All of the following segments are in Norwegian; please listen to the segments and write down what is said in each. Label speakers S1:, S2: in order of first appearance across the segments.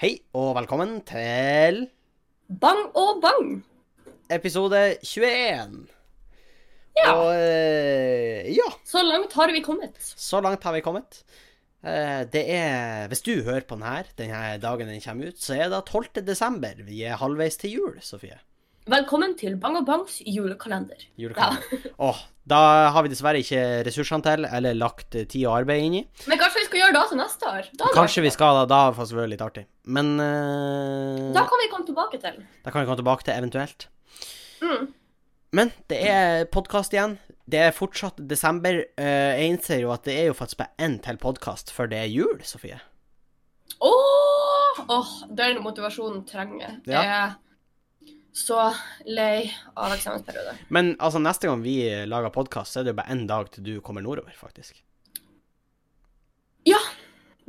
S1: Hei og velkommen til
S2: Bang og bang!
S1: episode 21.
S2: Ja,
S1: Og eh, ja,
S2: så langt har vi kommet.
S1: så langt har vi kommet. Eh, Det er Hvis du hører på den her denne dagen den kommer ut, så er det da 12. desember. Vi er halvveis til jul, Sofie.
S2: Velkommen til Bang og bangs julekalender.
S1: Julekalender. Åh, da har vi dessverre ikke ressursene til, eller lagt eh, tid og arbeid inn i.
S2: Men kanskje vi skal gjøre det til neste år? Da, hadde
S1: Kanskje
S2: vært-
S1: vi skal da, da har det faktisk vært litt artig. Men eh,
S2: da kan vi komme tilbake til.
S1: Det kan vi komme tilbake til eventuelt.
S2: Mm.
S1: Men det er podkast igjen. Det er fortsatt desember. Eh, Jeg innser jo at det er jo faktisk bare én til podkast før det er jul, Sofie.
S2: Åh, åh, den motivasjonen trenger jeg. Jeg
S1: Ja.
S2: er så lei av eksamensperiode.
S1: Men altså, neste gang vi lager podkast, så er det jo bare én dag til du kommer nordover, faktisk.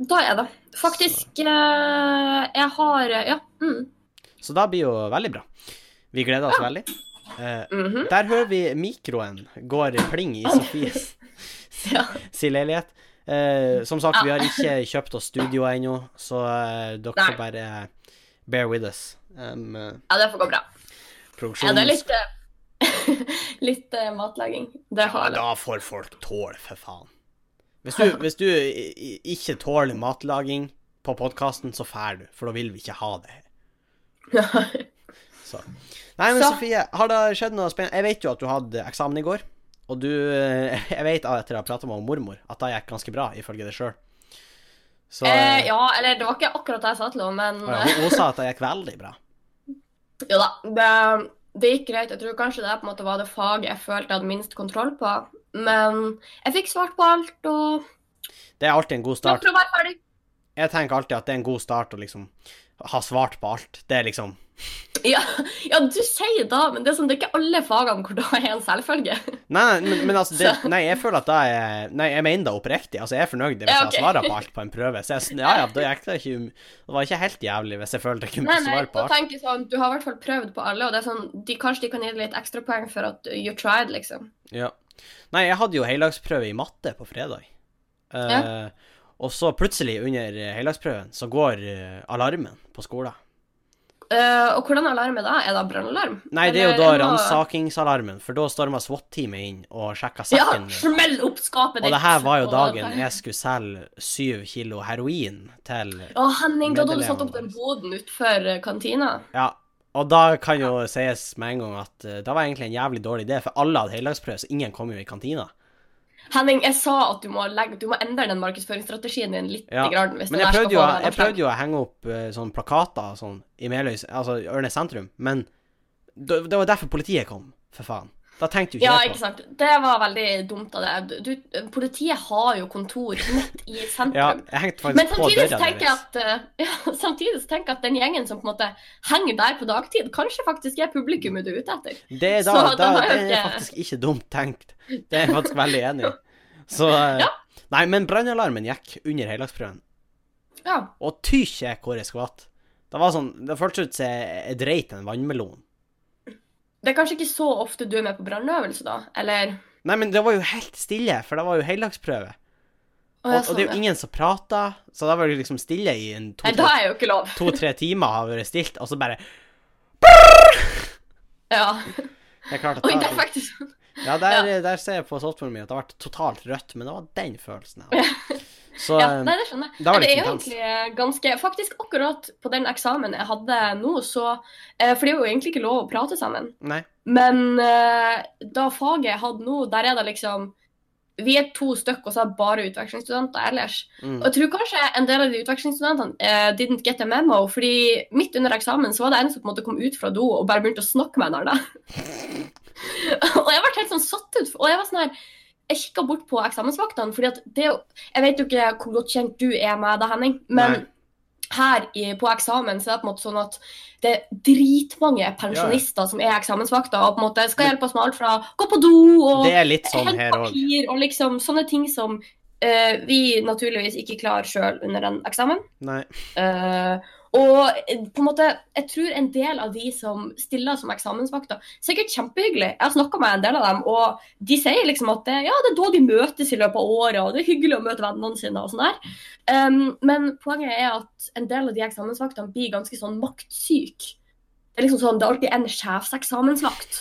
S2: Da er det. Faktisk, eh, jeg har Ja. Mm.
S1: Så da blir jo veldig bra. Vi gleder oss veldig. Eh,
S2: mhm.
S1: der hører vi mikroen går pling i Sofies
S2: ja. Ah.
S1: sin leilighet. Eh, som sagt, vi har ikke kjøpt oss studio ennå, så eh, dere får bare bear with us. Um, eh,
S2: ja, det får gå bra. Ja,
S1: produksjonen
S2: det er litt eh, Litt eh, matlaging. Det har jeg.
S1: Da får folk tåle, for faen. Hvis du, hvis du i- i- ikke tåler matlaging på podkasten, så fær du, for da vil vi ikke ha det. her. Så. Nei, men
S2: Så.
S1: Sofie, har det skjedd noe spennende? Jeg vet jo at du hadde eksamen i går, og du eh, Jeg vet etter å ha prata med mormor at det gikk ganske bra, ifølge deg sjøl. Så
S2: Eh,
S1: eh,
S2: ja, eller det var ikke akkurat det jeg sa til henne, men
S1: ja, hun, hun sa at det gikk veldig bra.
S2: Jo da, det, det gikk greit. Jeg tror kanskje det på en måte var det faget jeg følte jeg hadde minst kontroll på. Men jeg fikk svart på alt, og
S1: Det er alltid en god
S2: takk
S1: start.
S2: for å være ferdig.
S1: Jeg tenker alltid at det er en god start å liksom ha svart på alt. Det er liksom
S2: Ja, ja, du sier da, men det er, sånn, det er ikke alle fagene hvor det er en selvfølge.
S1: Nei, nei, men, men altså, det,
S2: Så-
S1: nei, jeg føler at det er Nei, jeg mener det oppriktig. Altså, jeg er fornøyd hvis
S2: Ja,
S1: jeg
S2: ok.
S1: har svaret på alt på en prøve. Så jeg, er sånn, ja, ja, det, gikk da ikke, det var ikke helt jævlig hvis jeg følte jeg kunne
S2: Nei, nei,
S1: svare på
S2: da
S1: alt.
S2: tenker jeg sånn, du har i hvert fall prøvd på alle, og det er sånn, de, kanskje de kan gi deg litt ekstrapoeng for at you tried, liksom.
S1: Ja. Nei, jeg hadde jo heldagsprøve i matte på fredag. Eh,
S2: Ja.
S1: Og så plutselig, under heldagsprøven, så går eh, alarmen på skolen.
S2: Eh, og hvordan alarm er det? Er det brannalarm?
S1: Nei, det er jo da
S2: Eller må-
S1: ransakingsalarmen, for da storma SWAT-teamet inn og sjekka
S2: Ja,
S1: sekken min.
S2: smell opp skapet
S1: Og det her var jo
S2: og-
S1: dagen jeg skulle selge syv kilo heroin til
S2: Å, Henning, da hadde du satt opp den
S1: Medelevene
S2: boden utenfor eh, kantina.
S1: Ja, og da kan jo sies med en gang at eh, det var egentlig en jævlig dårlig idé, for alle hadde heldagsprøve, så ingen kom jo i kantina.
S2: Henning, jeg sa at du må, legge, du må endre den markedsføringsstrategien din litt.
S1: Ja,
S2: Grann, hvis
S1: Men
S2: det
S1: jeg
S2: der
S1: prøvde, jo,
S2: skal få deg
S1: jeg
S2: oppslag.
S1: prøvde jo å henge opp eh, sånne plakater og sånn i Meløys, altså i Ørnes sentrum, men det, det var derfor politiet kom, for faen. Da tenkte jo ikke
S2: Ja,
S1: jeg
S2: ikke
S1: på.
S2: sant. Det var veldig dumt av deg. Du, du- Politiet har jo kontor midt i
S1: Ja,
S2: sentrum.
S1: jeg hengte
S2: Men
S1: faktisk på
S2: samtidig så
S1: døra
S2: tenker
S1: deres.
S2: jeg at, eh, ja, samtidig så tenker jeg at den gjengen som på en måte henger der på dagtid, kanskje faktisk er publikummet du er ute etter.
S1: Det, er da,
S2: Så da
S1: da,
S2: har
S1: det
S2: jeg
S1: er
S2: ikke-
S1: faktisk ikke dumt tenkt. Det er jeg faktisk veldig enig i. Så eh,
S2: Ja.
S1: Nei, men brannalarmen gikk under heldagsprøven.
S2: Ja.
S1: Og tykk er hvor jeg skvatt. Det var sånn, det føltes ut som jeg jeg dreit en vannmelon.
S2: Det er kanskje ikke så ofte du er med på brannøvelse, da? Eller
S1: Nei, men det var jo helt stille, for det var jo heldagsprøve.
S2: Å,
S1: Og,
S2: jeg
S1: og
S2: så
S1: det er jo ingen som prater, så da var det liksom stille i en
S2: Nei, da
S1: to-tre
S2: er jo ikke lov.
S1: to, tre timer har vært stilt, og så bare
S2: Ja.
S1: Det er klart at
S2: Oi, det
S1: da-
S2: er faktisk
S1: Ja, der, der ser jeg på softwaren min at det har vært totalt rødt, men det var den følelsen jeg hadde. Så
S2: Ja,
S1: eh,
S2: nei, det skjønner jeg.
S1: da var det
S2: det,
S1: litt
S2: er jo
S1: intenst.
S2: egentlig ganske Faktisk akkurat på den eksamen jeg hadde nå, så eh, For det er jo egentlig ikke lov å prate sammen.
S1: Nei.
S2: Men eh, da faget jeg hadde nå, der er det liksom Vi er to stykk, og så er det bare utvekslingsstudenter ellers.
S1: Mm.
S2: Og jeg tror kanskje en del av de utvekslingsstudentene eh, didn't get a memo, fordi midt under eksamen så var det en som på en måte kom ut fra do og bare begynte å snakke med en annen. og jeg ble helt sånn satt ut. Og jeg var sånn her Jeg kikka bort på eksamensvaktene, fordi at det er jo Jeg vet jo ikke hvor godt kjent du er med det, Henning, men
S1: Nei.
S2: her i, på eksamen så er det på en måte sånn at det er dritmange pensjonister som er eksamensvakter og på en måte skal hjelpe oss med alt fra gå på do og
S1: Det er litt sånn
S2: Helt
S1: her òg.
S2: papir og liksom sånne ting som eh, vi naturligvis ikke klarer sjøl under en eksamen.
S1: Nei.
S2: Eh, Og eh, på en måte, jeg tror en del av de som stiller som eksamensvakter, sikkert kjempehyggelig. Jeg har snakka med en del av dem, og de sier liksom at det, ja, det er da de møtes i løpet av året, og det er hyggelig å møte vennene sine og sånn der. Um, men poenget er at en del av de eksamensvaktene blir ganske sånn maktsyke. Det er liksom sånn, det er alltid en sjefseksamensvakt.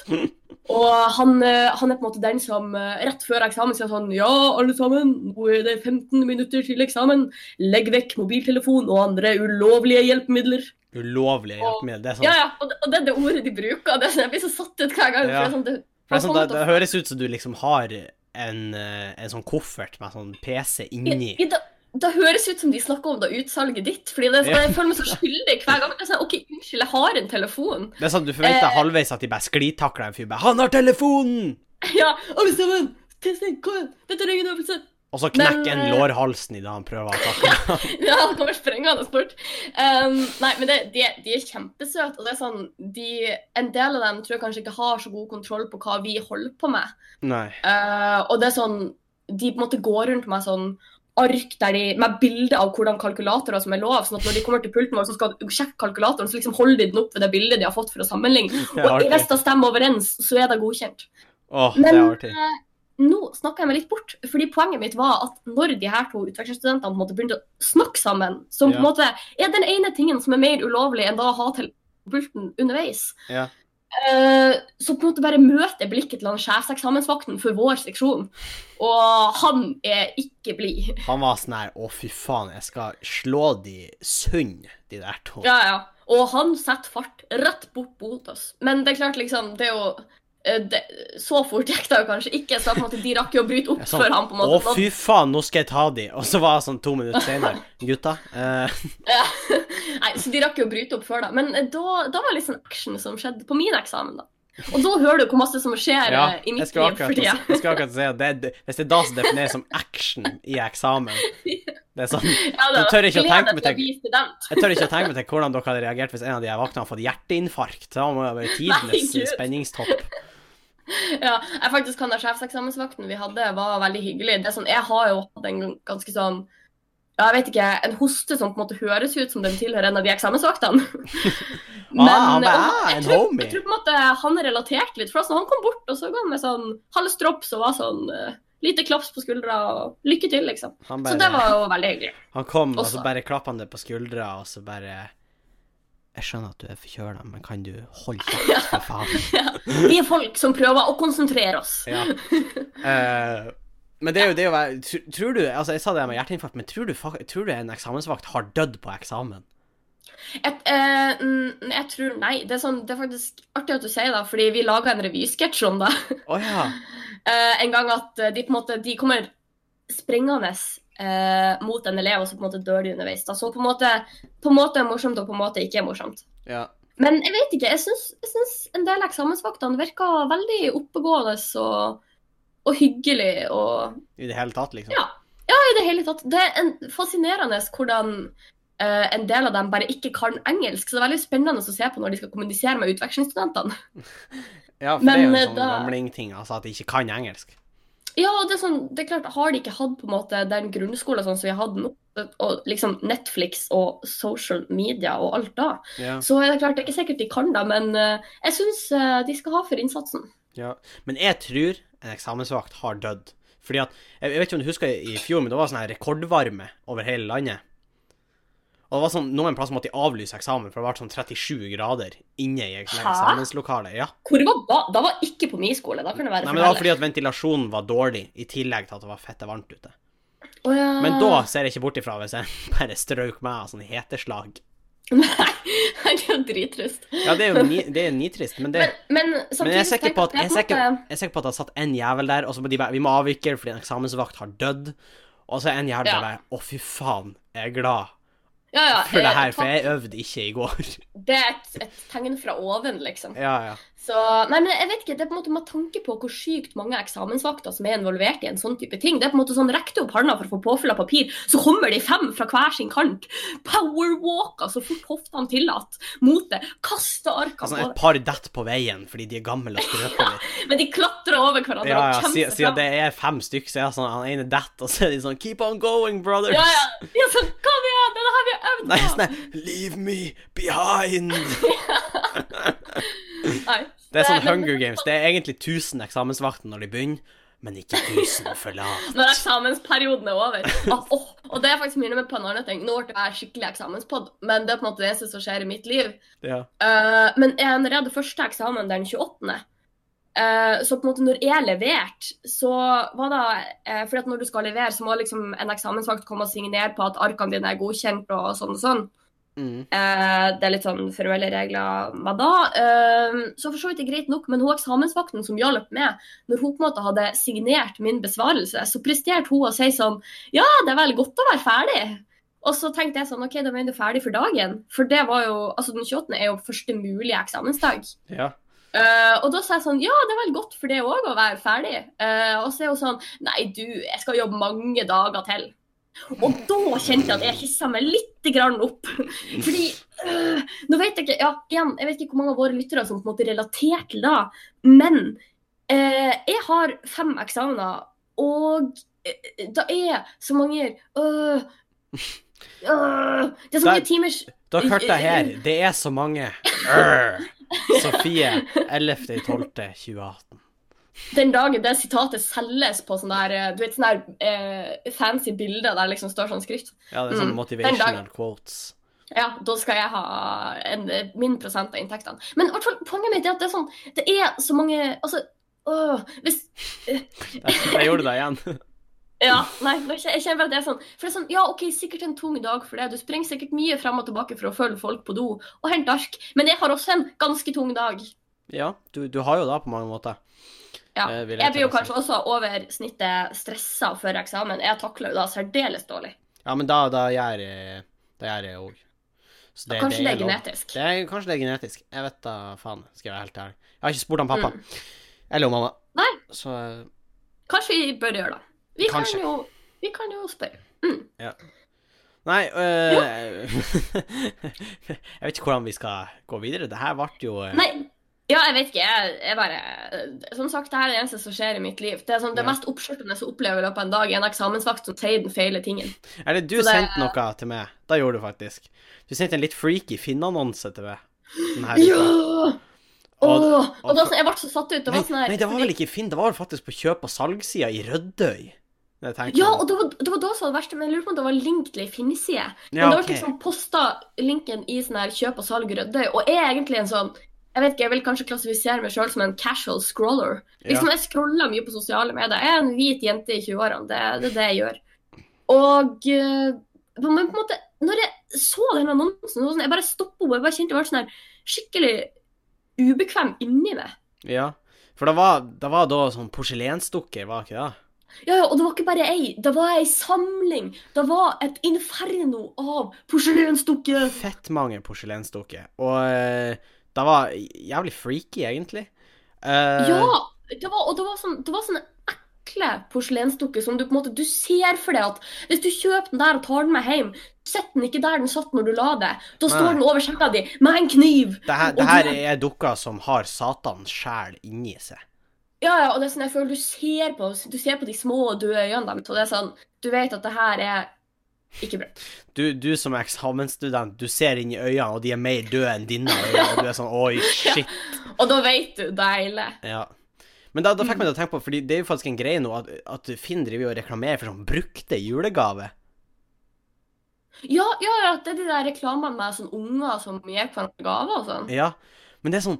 S2: Og han, eh, han er på en måte den som eh, rett før eksamen sier sånn Ja, alle sammen, nå er det 15 minutter til eksamen. Legg vekk mobiltelefon og andre ulovlige hjelpemidler.
S1: Ulovlige hjelpemidler. Det er sånn
S2: Ja, ja, og det, og det er det ordet de bruker. Det, er sånn- jeg blir så satt ut hver gang.
S1: Ja.
S2: For det er sånn, det,
S1: For det, er sånn, det, det høres ut som du liksom har en, eh, en sånn koffert med sånn PC inni.
S2: I, i, da, da høres ut som de snakker om da utsalget ditt. Fordi det, sånn,
S1: Ja.
S2: jeg føler meg så skyldig hver gang. Det er sånn, OK, unnskyld, jeg har en telefon.
S1: Det er sånn Du forventer
S2: Eh.
S1: halvveis at de bare sklitakler en fyr. bare, 'Han har telefonen!'
S2: Ja, alle sammen! Testing, kom igjen! Dette er ingen øvelse!
S1: Og så knekker
S2: Men,
S1: en
S2: eh,
S1: lårhalsen i det han prøver å takle.
S2: Ja, han kommer sprengende sport. Um, nei, men det, de, de er kjempesøte. Og det er sånn, de, en del av dem tror jeg kanskje ikke har så god kontroll på hva vi holder på med.
S1: Nei.
S2: Eh, og det er sånn, de på en måte går rundt med sånn ark der de, med bilder av hvordan kalkulatorer som er lov. sånn at når de kommer til pulten vår, så skal de sjekke kalkulatoren, så liksom holder de den opp ved det bildet de har fått for å sammenligne.
S1: Det er
S2: Og hvis
S1: artig.
S2: det stemmer overens, så er det godkjent.
S1: Åh, det
S2: Men
S1: er artig.
S2: eh, nå snakka jeg meg litt bort, fordi poenget mitt var at når de her to utvekslingsstudentene på en måte begynte å snakke sammen, som på en
S1: Ja.
S2: måte er den ene tingen som er mer ulovlig enn da å ha til pulten underveis,
S1: Ja.
S2: eh, så på en måte bare møter jeg blikket til han sjefseksamensvakten for vår seksjon, og han er ikke blid.
S1: Han var sånn her 'Å, fy faen, jeg skal slå de sund, de der to'.
S2: Ja, ja. Og han setter fart rett bort mot oss. Men det er klart, liksom, det er jo eh, det, Så fort gikk det jo kanskje ikke, så på en måte, de rakk jo å bryte opp
S1: Jeg er sånn,
S2: før han på en
S1: Å,
S2: måte
S1: fy faen, nå skal jeg ta de. Og så var jeg sånn to minutter senere. Gutta, eh,
S2: Ja. Nei, så de rakk jo å bryte opp før da. Men eh, da, da var det litt sånn action som skjedde på min eksamen, da. Og da hører du hvor masse som skjer
S1: ja,
S2: eh, i
S1: jeg
S2: mitt
S1: skulle
S2: liv for
S1: akkurat,
S2: tida.
S1: jeg skulle akkurat si at det, er- hvis det er da som defineres som action i eksamen Det er sånn
S2: Ja,
S1: Du tør ikke å
S2: gleder
S1: tenke på
S2: til å
S1: ting.
S2: bli student.
S1: Jeg tør ikke å tenke meg til hvordan dere hadde reagert hvis en av de her vaktene hadde fått hjerteinfarkt. Da må det være tidenes
S2: Nei, Gud.
S1: spenningstopp.
S2: Ja, jeg faktisk kan ha sjefseksamensvakten vi hadde, var veldig hyggelig. Det er sånn, jeg har jo hatt en ganske sånn ja, jeg vet ikke, En hoste som på en måte høres ut som den tilhører en av de eksamensvaktene. Men, eh,
S1: Ah, han bare,
S2: og
S1: ah,
S2: jeg
S1: en
S2: tror-
S1: homie.
S2: Jeg tror på en måte han relaterte litt. for altså, Han kom bort og så ga han meg sånn halv strops og var sånn eh, lite klaps på skuldra og lykke til, liksom.
S1: Han,
S2: Så det
S1: bare,
S2: var jo veldig hyggelig.
S1: han kom, og så
S2: Også.
S1: bare klappa han det på skuldra, og så bare Jeg skjønner at du er forkjøla, men kan du holde kjeft, for faen?
S2: Vi er folk som prøver å konsentrere oss.
S1: Ja. Eh, men det er jo det å være tr- Tror du Altså, jeg sa det med hjerteinfarkt, men tror du, fak- tror du en eksamensvakt har dødd på eksamen?
S2: Jeg, eh, mm, jeg tror Nei, det er, sånn, det er faktisk artig at du sier det, fordi vi laga en revysketsj om det
S1: Å ja.
S2: eh, en gang. At eh, de på en måte de kommer springende eh, mot en elev, og så på en måte dør de underveis. Da. Så på en, måte, på en måte er morsomt, og på en måte ikke er morsomt.
S1: ja.
S2: Men jeg vet ikke. Jeg syns, jeg syns en del eksamensvaktene virker veldig oppegående og, og hyggelig og
S1: I det hele tatt, liksom?
S2: Ja. i det hele tatt. Det er en, fascinerende hvordan eh, en del av dem bare ikke kan engelsk. Så det er veldig spennende å se på når de skal kommunisere med utvekslingsstudentene.
S1: Ja, for
S2: Men,
S1: det er jo
S2: eh,
S1: en sånn
S2: da-
S1: gamlingting, altså, at de ikke kan engelsk.
S2: Ja, og det er, sånn, det er klart, Har de ikke hatt på en måte den grunnskolen sånn som vi hadde nå, og liksom Netflix og social media og alt da,
S1: Ja.
S2: så er det klart, det er ikke sikkert de kan det, men eh, jeg syns eh, de skal ha for innsatsen.
S1: Ja, men jeg tror en eksamensvakt har dødd. Fordi at, jeg jeg vet ikke om du husker i fjor, men det var sånn her rekordvarme over hele landet. Og det var sånn, noen plasser måtte de avlyse eksamen, for det var sånn 37 grader inne i ek-
S2: Hæ?
S1: eksamenslokalet. Ja.
S2: Hvor var da? Da var ikke på min skole. Da kan det være
S1: Nei, men det var fordi at ventilasjonen var dårlig, i tillegg til at det var fette varmt ute.
S2: Å, ja.
S1: Men da ser jeg ikke bort ifra hvis jeg bare strøk meg av sånn heteslag.
S2: Nei, det er jo drittrist.
S1: Ja, det er jo ni, det er nitrist, men det
S2: Men, men
S1: Men
S2: samtidig
S1: jeg er sikker på at, jeg er
S2: tenker jeg
S1: sikker,
S2: på en
S1: jeg er sikker på at det har satt en jævel der, og så må de bare Vi må avvikle fordi en eksamensvakt har dødd. Og så er en jævel
S2: Ja.
S1: der bare Å, fy faen, jeg er glad
S2: måte- ja, ja,
S1: for det
S2: eh,
S1: her, for
S2: takk.
S1: jeg øvde ikke i går.
S2: Det er et, et tegn fra oven, liksom.
S1: ja, ja.
S2: Så, nei, men jeg vet ikke, det er på en måte Med tanke på hvor sykt mange eksamensvakter som er involvert i en sånn type ting Det er på en måte sånn, Rekk du opp handa for å få påfyll av papir, så kommer de fem fra hver sin kant. Powerwalker så fort hoftene tillater, mot det. Kaster arkene
S1: Altså,
S2: over.
S1: et par detter på veien fordi de er gamle og skrøpelige.
S2: Men de klatrer over
S1: Ja,
S2: hverandre
S1: ja,
S2: og kjemper
S1: siden,
S2: seg
S1: siden
S2: fram.
S1: det er fem stykker, så er det sånn han ene detter, og så er de sånn Keep on going, brothers!
S2: Ja, ja. De er sånn, Kom igjen, det er det her vi har øvd
S1: Nei,
S2: på!
S1: sånn her, Leave me behind!
S2: Nei.
S1: Det er sånn
S2: men-
S1: Hunger Games. Det er egentlig 1000 eksamensvakter når de begynner, men ikke 1000 for lavt.
S2: Når eksamensperioden er over. Ah, åh, og det er faktisk minner meg på en annen ting. Nå ble jeg skikkelig eksamenspod, men det er på en måte det eneste som skjer i mitt liv.
S1: Ja.
S2: Eh, men jeg er redd første eksamen den 28. Eh, så på en måte når jeg leverte, så var det eh, fordi at når du skal levere, så må liksom en eksamensvakt komme og signere på at arkene dine er godkjent og sånn og sånn.
S1: Mm.
S2: Eh, det er litt sånn formelle regler med da. Eh, så for så vidt er greit nok, men hun eksamensvakten som hjalp meg, når hun på en måte hadde signert min besvarelse, så presterte hun å si sånn Ja, det er vel godt å være ferdig. Og så tenkte jeg sånn OK, da mener du ferdig for dagen. For det var jo Altså, den 28. er jo første mulige eksamensdag.
S1: Ja.
S2: Eh, og da sa jeg sånn Ja, det er vel godt for det òg å være ferdig. Eh, og så er hun sånn Nei, du, jeg skal jobbe mange dager til. Og da kjente jeg at jeg hissa meg litt grann opp. Fordi øh, Nå vet jeg ikke ja, igjen, jeg vet ikke hvor mange av våre lyttere som på en måte relaterer til det, men eh, jeg har fem eksamener, og eh, det er så mange øh, øh, Det er så
S1: Der-
S2: mange timers
S1: Dere hørte det her. Det er så mange. Arr. Sofie 11.12.2018.
S2: den dagen det sitatet selges på sånn der eh, Du vet sånne der, eh, fancy bilder der liksom står sånn skrift.
S1: Ja, det er sånne
S2: Mm. Den
S1: motivational quotes.
S2: Ja, da skal jeg ha en, min prosent av inntektene. Men i hvert fall, poenget mitt er at det er sånn Det er så mange Altså, åh, hvis
S1: Der, der gjorde du det igjen.
S2: Ja, nei, nå kjen- jeg kjenner bare at det er sånn. For det er sånn, ja, ok, sikkert en tung dag for deg. Du springer sikkert mye frem og tilbake for å følge folk på do og hente ark. Men jeg har også en ganske tung dag.
S1: Ja, du, du har jo det på mange måter.
S2: Ja,
S1: Eh, vil jeg
S2: Jeg blir jo
S1: tro, altså.
S2: kanskje også over snittet stressa før eksamen. Jeg takler jo da særdeles dårlig.
S1: Ja, men da, da gjør jeg det gjør jeg òg.
S2: Kanskje det er genetisk.
S1: Det er, kanskje det er genetisk. Jeg vet da faen, skal jeg være helt ærlig. Jeg har ikke spurt han pappa. Eller om mamma.
S2: Mm. Nei.
S1: Så eh,
S2: Kanskje vi bør gjøre det. Vi kan
S1: Kanskje.
S2: jo, vi kan jo spørre.
S1: Nei øh, Jeg vet ikke hvordan vi skal gå videre. Det her ble jo øh,
S2: Nei, ja, jeg vet ikke. Jeg, jeg bare eh, Som sagt, det her er det eneste som skjer i mitt liv. Det er sånn, det
S1: Ja.
S2: mest oppskjørtende jeg opplever i løpet av en dag, er en eksamensvakt som sier den feile tingen.
S1: Eller du
S2: Så det-
S1: sendte noe til meg. Da gjorde du faktisk. Du sendte en litt freaky Finn-annonse til meg. Den her
S2: Ja!
S1: uka.
S2: Åh, og,
S1: og-
S2: da, sånn, jeg ble så satt ut. Det
S1: Nei,
S2: var sånn her,
S1: nei, det var vel ikke Finn, det var vel faktisk på kjøp- og salgssida i Rødøy. Det tenkte
S2: Ja,
S1: jeg.
S2: og det var, det var da som var det verste, men jeg lurer på om det var linkt til ei finneside. Men
S1: Ja,
S2: det var
S1: ok.
S2: liksom posta linken i sånn her kjøp og salg Rødøy, og jeg er egentlig en sånn jeg vet ikke, jeg vil kanskje klassifisere meg sjøl som en casual scroller. Liksom, Jeg scroller mye på sosiale medier. Jeg er en hvit jente i 20-årene. Det, det er det jeg gjør. Og eh, Men på en måte, når jeg så den annonsen, så var det sånn, jeg bare stoppa opp. Jeg bare kjente jeg ble sånn her skikkelig ubekvem inni meg.
S1: ja. For det var, det var da sånn porselensdukke, var ikke det?
S2: Ja, ja, og det var ikke bare ei. Det var ei samling. Det var et inferno av porselensdukker.
S1: Fett mange porselensdukker. Og øh, det var jævlig freaky, egentlig. Eh,
S2: Ja! Det var, og det var, sånn, det var sånne ekle porselensdukker som du på en måte, du ser for deg at hvis du kjøper den der og tar den med hjem, setter den ikke der den satt når du la det. Da står
S1: Nei.
S2: den over skjegga di med en kniv.
S1: Det her,
S2: Og
S1: det her
S2: du-
S1: er dukker som har Satan sjæl inni seg.
S2: Ja, ja, og det er sånn jeg føler du ser på, du ser på de små og døde øynene deres, og det er sånn Du vet at det her er ikke bra.
S1: Du, du som er eksamensstudent, du ser inn i øynene, og de er mer døde enn dine øyne, og du er sånn oi, shit.
S2: Og da vet du det er ille.
S1: Ja. Men da, da fikk meg til å tenke på, fordi det er jo faktisk en greie nå, at, at Finn driver jo og reklamerer for sånn brukte julegaver.
S2: Ja, ja, ja, det er de der reklamene med sånn unger som gir hverandre gaver og sånn.
S1: Ja. Men det er sånn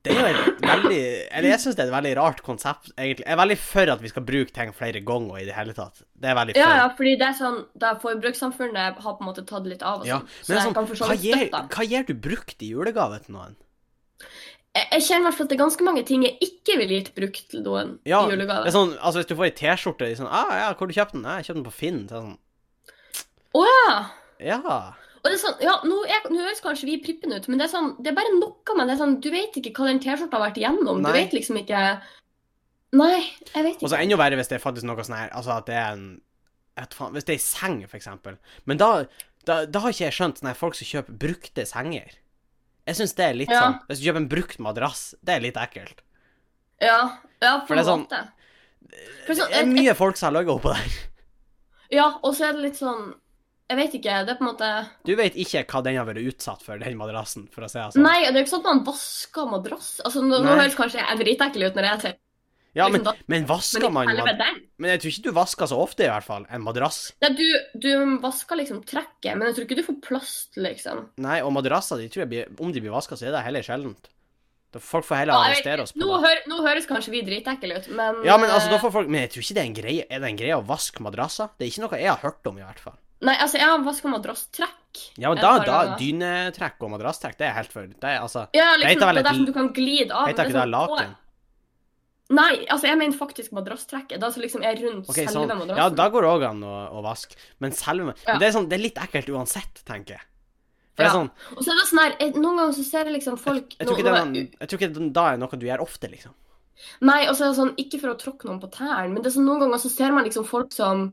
S1: Det er jo et veldig Eller jeg syns det er et veldig rart konsept, egentlig. Jeg er veldig for at vi skal bruke ting flere ganger i det hele tatt. Det er jeg veldig for.
S2: Ja, ja, fordi det er sånn, da forbrukssamfunnet har på en måte tatt litt av og
S1: Ja, Men
S2: sånn. Så
S1: det er
S2: jeg kan for
S1: sånn,
S2: så
S1: hva
S2: vidt
S1: gir,
S2: støtte det.
S1: hva gir du brukt i julegave til noen?
S2: Jeg, jeg kjenner i hvert fall at det er ganske mange ting jeg ikke ville gitt brukt til noen
S1: Ja,
S2: i
S1: Det
S2: julegave.
S1: er sånn, altså Hvis du får ei T-skjorte de er sånn, ah, ja, 'Hvor du kjøpte den?' Nei, 'Jeg kjøpte den på Finn.' Så er det sånn,
S2: Å ja!
S1: ja.
S2: Og det er sånn, ja, nå, er, nå høres kanskje vi prippen ut, men det er, sånn, det er bare noe med det. er Sånn, du vet ikke hva den T-skjorta har vært igjennom.
S1: Nei.
S2: Du vet liksom ikke Nei, jeg vet
S1: Og
S2: ikke.
S1: så enda verre hvis det er faktisk noe sånn her Altså at det er en jeg vet faen, Hvis det er ei seng, for eksempel. Men da, da, da har ikke jeg skjønt sånne her folk som kjøper brukte senger. Jeg syns det er litt
S2: Ja.
S1: sånn Hvis du kjøper en brukt madrass, det er litt ekkelt.
S2: Ja, ja på
S1: For det
S2: en
S1: er sånn- eh,
S2: måte. For
S1: Det
S2: sånn,
S1: er
S2: et-
S1: mye folk som har ligget oppå der.
S2: Ja, og så er det litt sånn Jeg vet ikke. Det er på en måte
S1: Du vet ikke hva den har vært utsatt for, den madrassen, for å si det sånn.
S2: Nei, det er ikke sånn at man vasker madrass. Altså, nå, nå
S1: Nei.
S2: høres kanskje jeg dritekkel ut når jeg sier det,
S1: ja, men,
S2: liksom, da-
S1: men vasker
S2: men
S1: man
S2: ikke
S1: mad-
S2: helvete den.
S1: Men jeg tror ikke du vasker så ofte, i hvert fall, en madrass.
S2: Nei, du, du vasker liksom trekket, men jeg tror ikke du får plast, liksom.
S1: Nei, og madrasser, de tror jeg blir, om de blir vaska, så er det heller sjeldent. Da folk får heller
S2: Ja, jeg vet
S1: arrestere oss på
S2: Nå,
S1: det.
S2: hør, nå høres kanskje vi dritekkel ut, men
S1: Ja, men altså,
S2: eh,
S1: da får folk Men jeg tror ikke det er en greie Er det en greie å vaske madrasser? Det er ikke noe jeg har hørt om, i hvert fall.
S2: Nei, altså, jeg har vaska madrasstrekk.
S1: Ja, men
S2: Et
S1: da,
S2: par
S1: da
S2: ganger.
S1: Dynetrekk og madrasstrekk, det er helt for Det er altså
S2: Ja,
S1: Det
S2: liksom,
S1: heter
S2: det
S1: vel
S2: er
S1: et-
S2: derfor du kan glide av.
S1: Heter ikke det
S2: men det er sånn,
S1: laken?
S2: å, Nei, altså, jeg mener faktisk madrasstrekket. Det som liksom er rundt
S1: OK,
S2: selve
S1: sånn. Ja,
S2: madrassen.
S1: da går det òg an å, å vaske. Men selve
S2: Ja.
S1: Men det er sånn Det er litt ekkelt uansett, tenker jeg. For det
S2: Ja.
S1: er sånn
S2: Og så er det sånn her, jeg, Noen ganger så ser jeg liksom folk
S1: Jeg tror
S2: nå-
S1: ikke det er
S2: nå-
S1: noen- jeg tror ikke det da er noe du gjør ofte, liksom.
S2: Nei, og så er det sånn, ikke for å tråkke noen på tærne, men det er sånn, noen ganger så ser man liksom folk som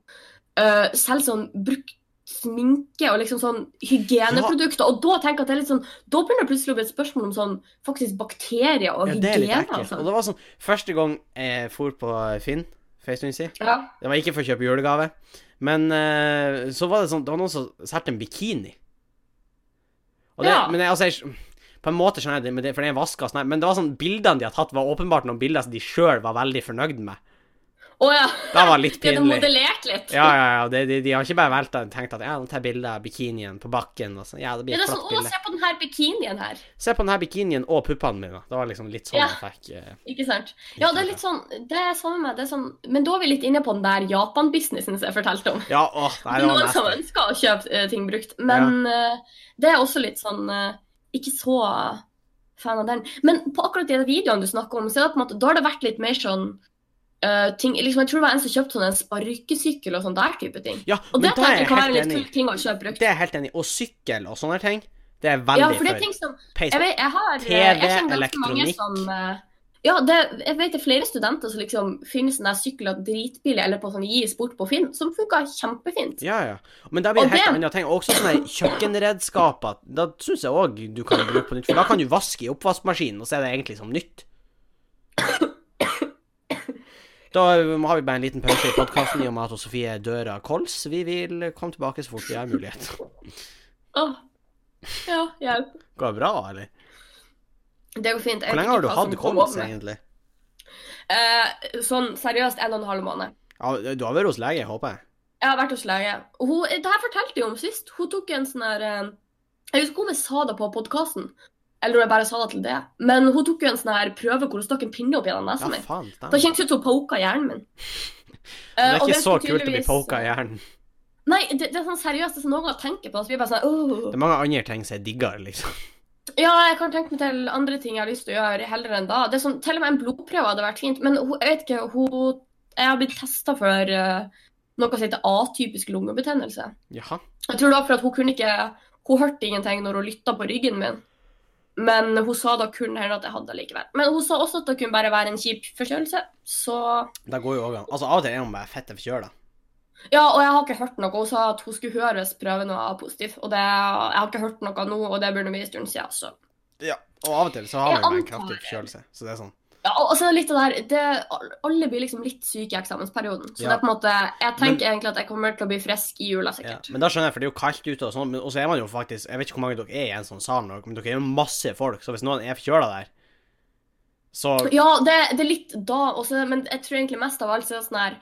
S2: øh, selger sånn brukt sminke og liksom sånn hygieneprodukter, og da tenker jeg at det er litt sånn, da begynner det plutselig å bli et spørsmål om sånn faktisk bakterier og
S1: Ja, det er litt
S2: hygiene og
S1: ekkelt. Og
S2: sånn.
S1: det var sånn Første gang jeg for på Finn, for en stund siden
S2: Ja,
S1: Det var ikke for å kjøpe julegave. Men eh, så var det sånn Det var noen som solgte en bikini. Og det,
S2: Ja.
S1: Men jeg, altså, jeg, på en måte skjønner jeg det, men det for den er vasket og sånn, her, men det var sånn bildene de har tatt, var åpenbart noen bilder som de sjøl var veldig fornøyd med.
S2: å ja,
S1: Det var litt
S2: det er
S1: pinlig.
S2: modellert litt.
S1: Ja, ja, ja. De, de, de har ikke bare valgt og tenkt at ja, nå tar jeg bilde av bikinien på bakken. Og sånn. Ja, det
S2: Det
S1: blir
S2: er
S1: et
S2: sånn,
S1: flott
S2: å,
S1: bilde.
S2: se på denne bikinien her,
S1: Se på denne bikinien og puppene mine. Det var liksom litt sånn
S2: Ja.
S1: jeg fikk eh,
S2: ikke sant? Ja, det er litt sånn, det er samme med, det er sånn, men da er vi litt inne på den der Japan-businessen som jeg fortalte om.
S1: Ja, åh, nei, det
S2: Det
S1: var
S2: er noen som
S1: nesten.
S2: ønsker å kjøpe eh, ting brukt, men eh, det er også litt sånn eh, Ikke så fan av den. Men på akkurat de videoene du snakker om, så er det på en måte, da har det vært litt mer sånn eh, ting, liksom, Jeg tror det var en som kjøpte sånn en sparkesykkel og sånn der type ting.
S1: Ja,
S2: Og
S1: men
S2: det
S1: da er
S2: tenker jeg
S1: jeg
S2: kan være
S1: helt
S2: en litt
S1: enig.
S2: kul ting å kjøpe brukt.
S1: Det er jeg helt enig i. Og sykkel og sånne ting, det er veldig
S2: Ja, for det er
S1: for.
S2: ting som
S1: Peis
S2: Jeg, vet, jeg har eh, jeg
S1: TV,
S2: kjenner ganske mange
S1: elektronikk.
S2: som eh, ja, det, jeg vet det er flere studenter som liksom finner sånne der sykler dritbillig eller på sånn gis bort på Finn, som funker kjempefint.
S1: Ja, ja. Men da blir det
S2: Og
S1: helt
S2: det-
S1: annet ting. Og Også sånne kjøkkenredskaper. Da syns jeg òg du kan bruke på nytt. For da kan du vaske i oppvaskmaskinen, og så er det egentlig som nytt. Da har vi bare en liten pause i podkasten i og med at hun Sofie dør av kols. Vi vil komme tilbake så fort vi har mulighet.
S2: Åh. Ja, hjelp.
S1: Går det bra, eller?
S2: Det går fint. Jeg
S1: Hvor
S2: vet
S1: lenge har
S2: ikke
S1: du
S2: hva
S1: hatt
S2: som kom
S1: kols,
S2: over meg.
S1: egentlig?
S2: Eh, sånn seriøst en og en halv måned.
S1: Ja, du har vært hos lege, håper jeg?
S2: Jeg har vært hos lege. Og Hun, det her fortalte jeg om sist. Hun tok en sånn her eh, Jeg husker ikke om jeg sa det på podkasten, eller om jeg bare sa det til det. Men hun tok jo en sånn her prøve hvor hun stakk en pinne opp gjennom nesa
S1: Ja,
S2: mi.
S1: faen.
S2: Da
S1: stemmer.
S2: kjentes det ut som hun poka hjernen min.
S1: Det
S2: Eh,
S1: er
S2: og
S1: ikke så
S2: skulle
S1: kult å bli
S2: tydeligvis-
S1: poka i hjernen.
S2: Nei, det, det er sånn seriøst. Det er sånn noen ganger tenker på det, så blir jeg bare sånn
S1: Det
S2: «Åh».
S1: er mange andre ting som er diggere, liksom.
S2: Ja, jeg kan tenke meg til andre ting jeg har lyst til å gjøre, heller enn da. Det er sånn, til og med en blodprøve hadde vært fint, men hun, jeg vet ikke hun, Jeg har blitt testa for eh, noe som heter atypisk lungebetennelse.
S1: Jaha.
S2: Jeg tror det var for at hun kunne ikke Hun hørte ingenting når hun lytta på ryggen min. Men hun sa da kun hende at jeg hadde det likevel. Men hun sa også at det kunne bare være en kjip forkjølelse. Så
S1: Det går jo òg an. Altså, av og til er man bare fette forkjøla.
S2: Ja, og jeg har ikke hørt noe. Hun sa at hun skulle høres prøven og være positiv. Og det, jeg har ikke hørt noe nå, og det begynner å bli en stund siden. Så.
S1: Ja, og av og til så har
S2: Jeg
S1: man jo en
S2: antar
S1: kraftig
S2: det.
S1: forkjølelse. Så det er sånn.
S2: Ja, og og så er det litt det der det, Alle blir liksom litt syke i eksamensperioden. Så
S1: Ja.
S2: det er på en måte Jeg tenker egentlig at jeg kommer til å bli frisk i jula,
S1: Ja.
S2: sikkert.
S1: Men da skjønner jeg, for det er jo kaldt ute og sånn, men- og så er man jo faktisk Jeg vet ikke hvor mange dere er i en sånn sal, nå, men dere er jo masse folk, så hvis noen er forkjøla der, så
S2: Ja, det, det er litt da også, men jeg tror egentlig mest av alt så er det sånn her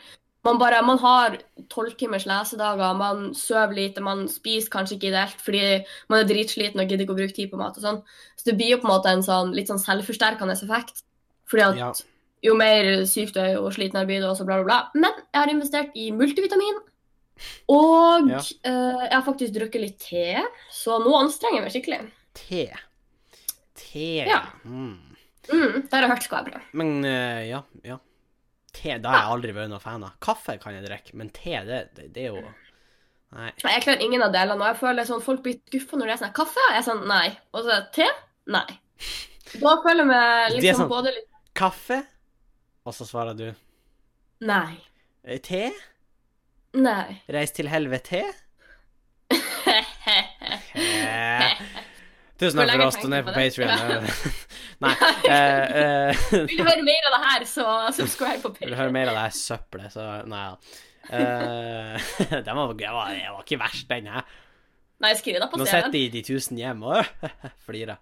S2: man, bare, man har tolv timers lesedager, man sover lite, man spiser kanskje ikke ideelt fordi man er dritsliten og gidder ikke å bruke tid på mat og sånn. Så det blir jo på en måte en sånn litt sånn selvforsterkende effekt. Fordi at
S1: Ja.
S2: jo mer syk du er, jo slitnere blir du, og så bla, bla, bla. Men jeg har investert i multivitamin. Og
S1: Ja.
S2: eh, jeg har faktisk drukket litt te, så nå anstrenger jeg meg skikkelig.
S1: te. Te.
S2: Ja.
S1: Mm.
S2: Mm, det har jeg hørt skal være bra.
S1: Men eh, ja, ja. Te, da har jeg aldri vært noen fan av. Kaffe kan jeg drikke, men te, det, det, det er jo Nei.
S2: Jeg klarer ingen av delene. Og jeg føler sånn, Folk blir skuffa når det er sånn Kaffe? Jeg er sånn nei. Og så te? Nei. Da føler jeg meg
S1: Det er
S2: liksom
S1: sant.
S2: både litt
S1: Kaffe? Og så svarer du
S2: Nei.
S1: eh, te?
S2: Nei.
S1: Reis til helvete? Eh, Tusen takk for
S2: Hvor lenge
S1: oss.
S2: tenkte
S1: Doner
S2: du
S1: på
S2: på det?
S1: Patrion. Nei. eh, eh,
S2: Vil du høre mer av det her, så subscribe på
S1: Vil du
S2: Patreon.
S1: høre mer av det her søppelet, så Nei da. Eh, den var, jeg var, jeg var ikke verst, den her.
S2: Nei, skriv det på
S1: Nå sitter
S2: CV-en.
S1: de i de tusen hjem og flirer.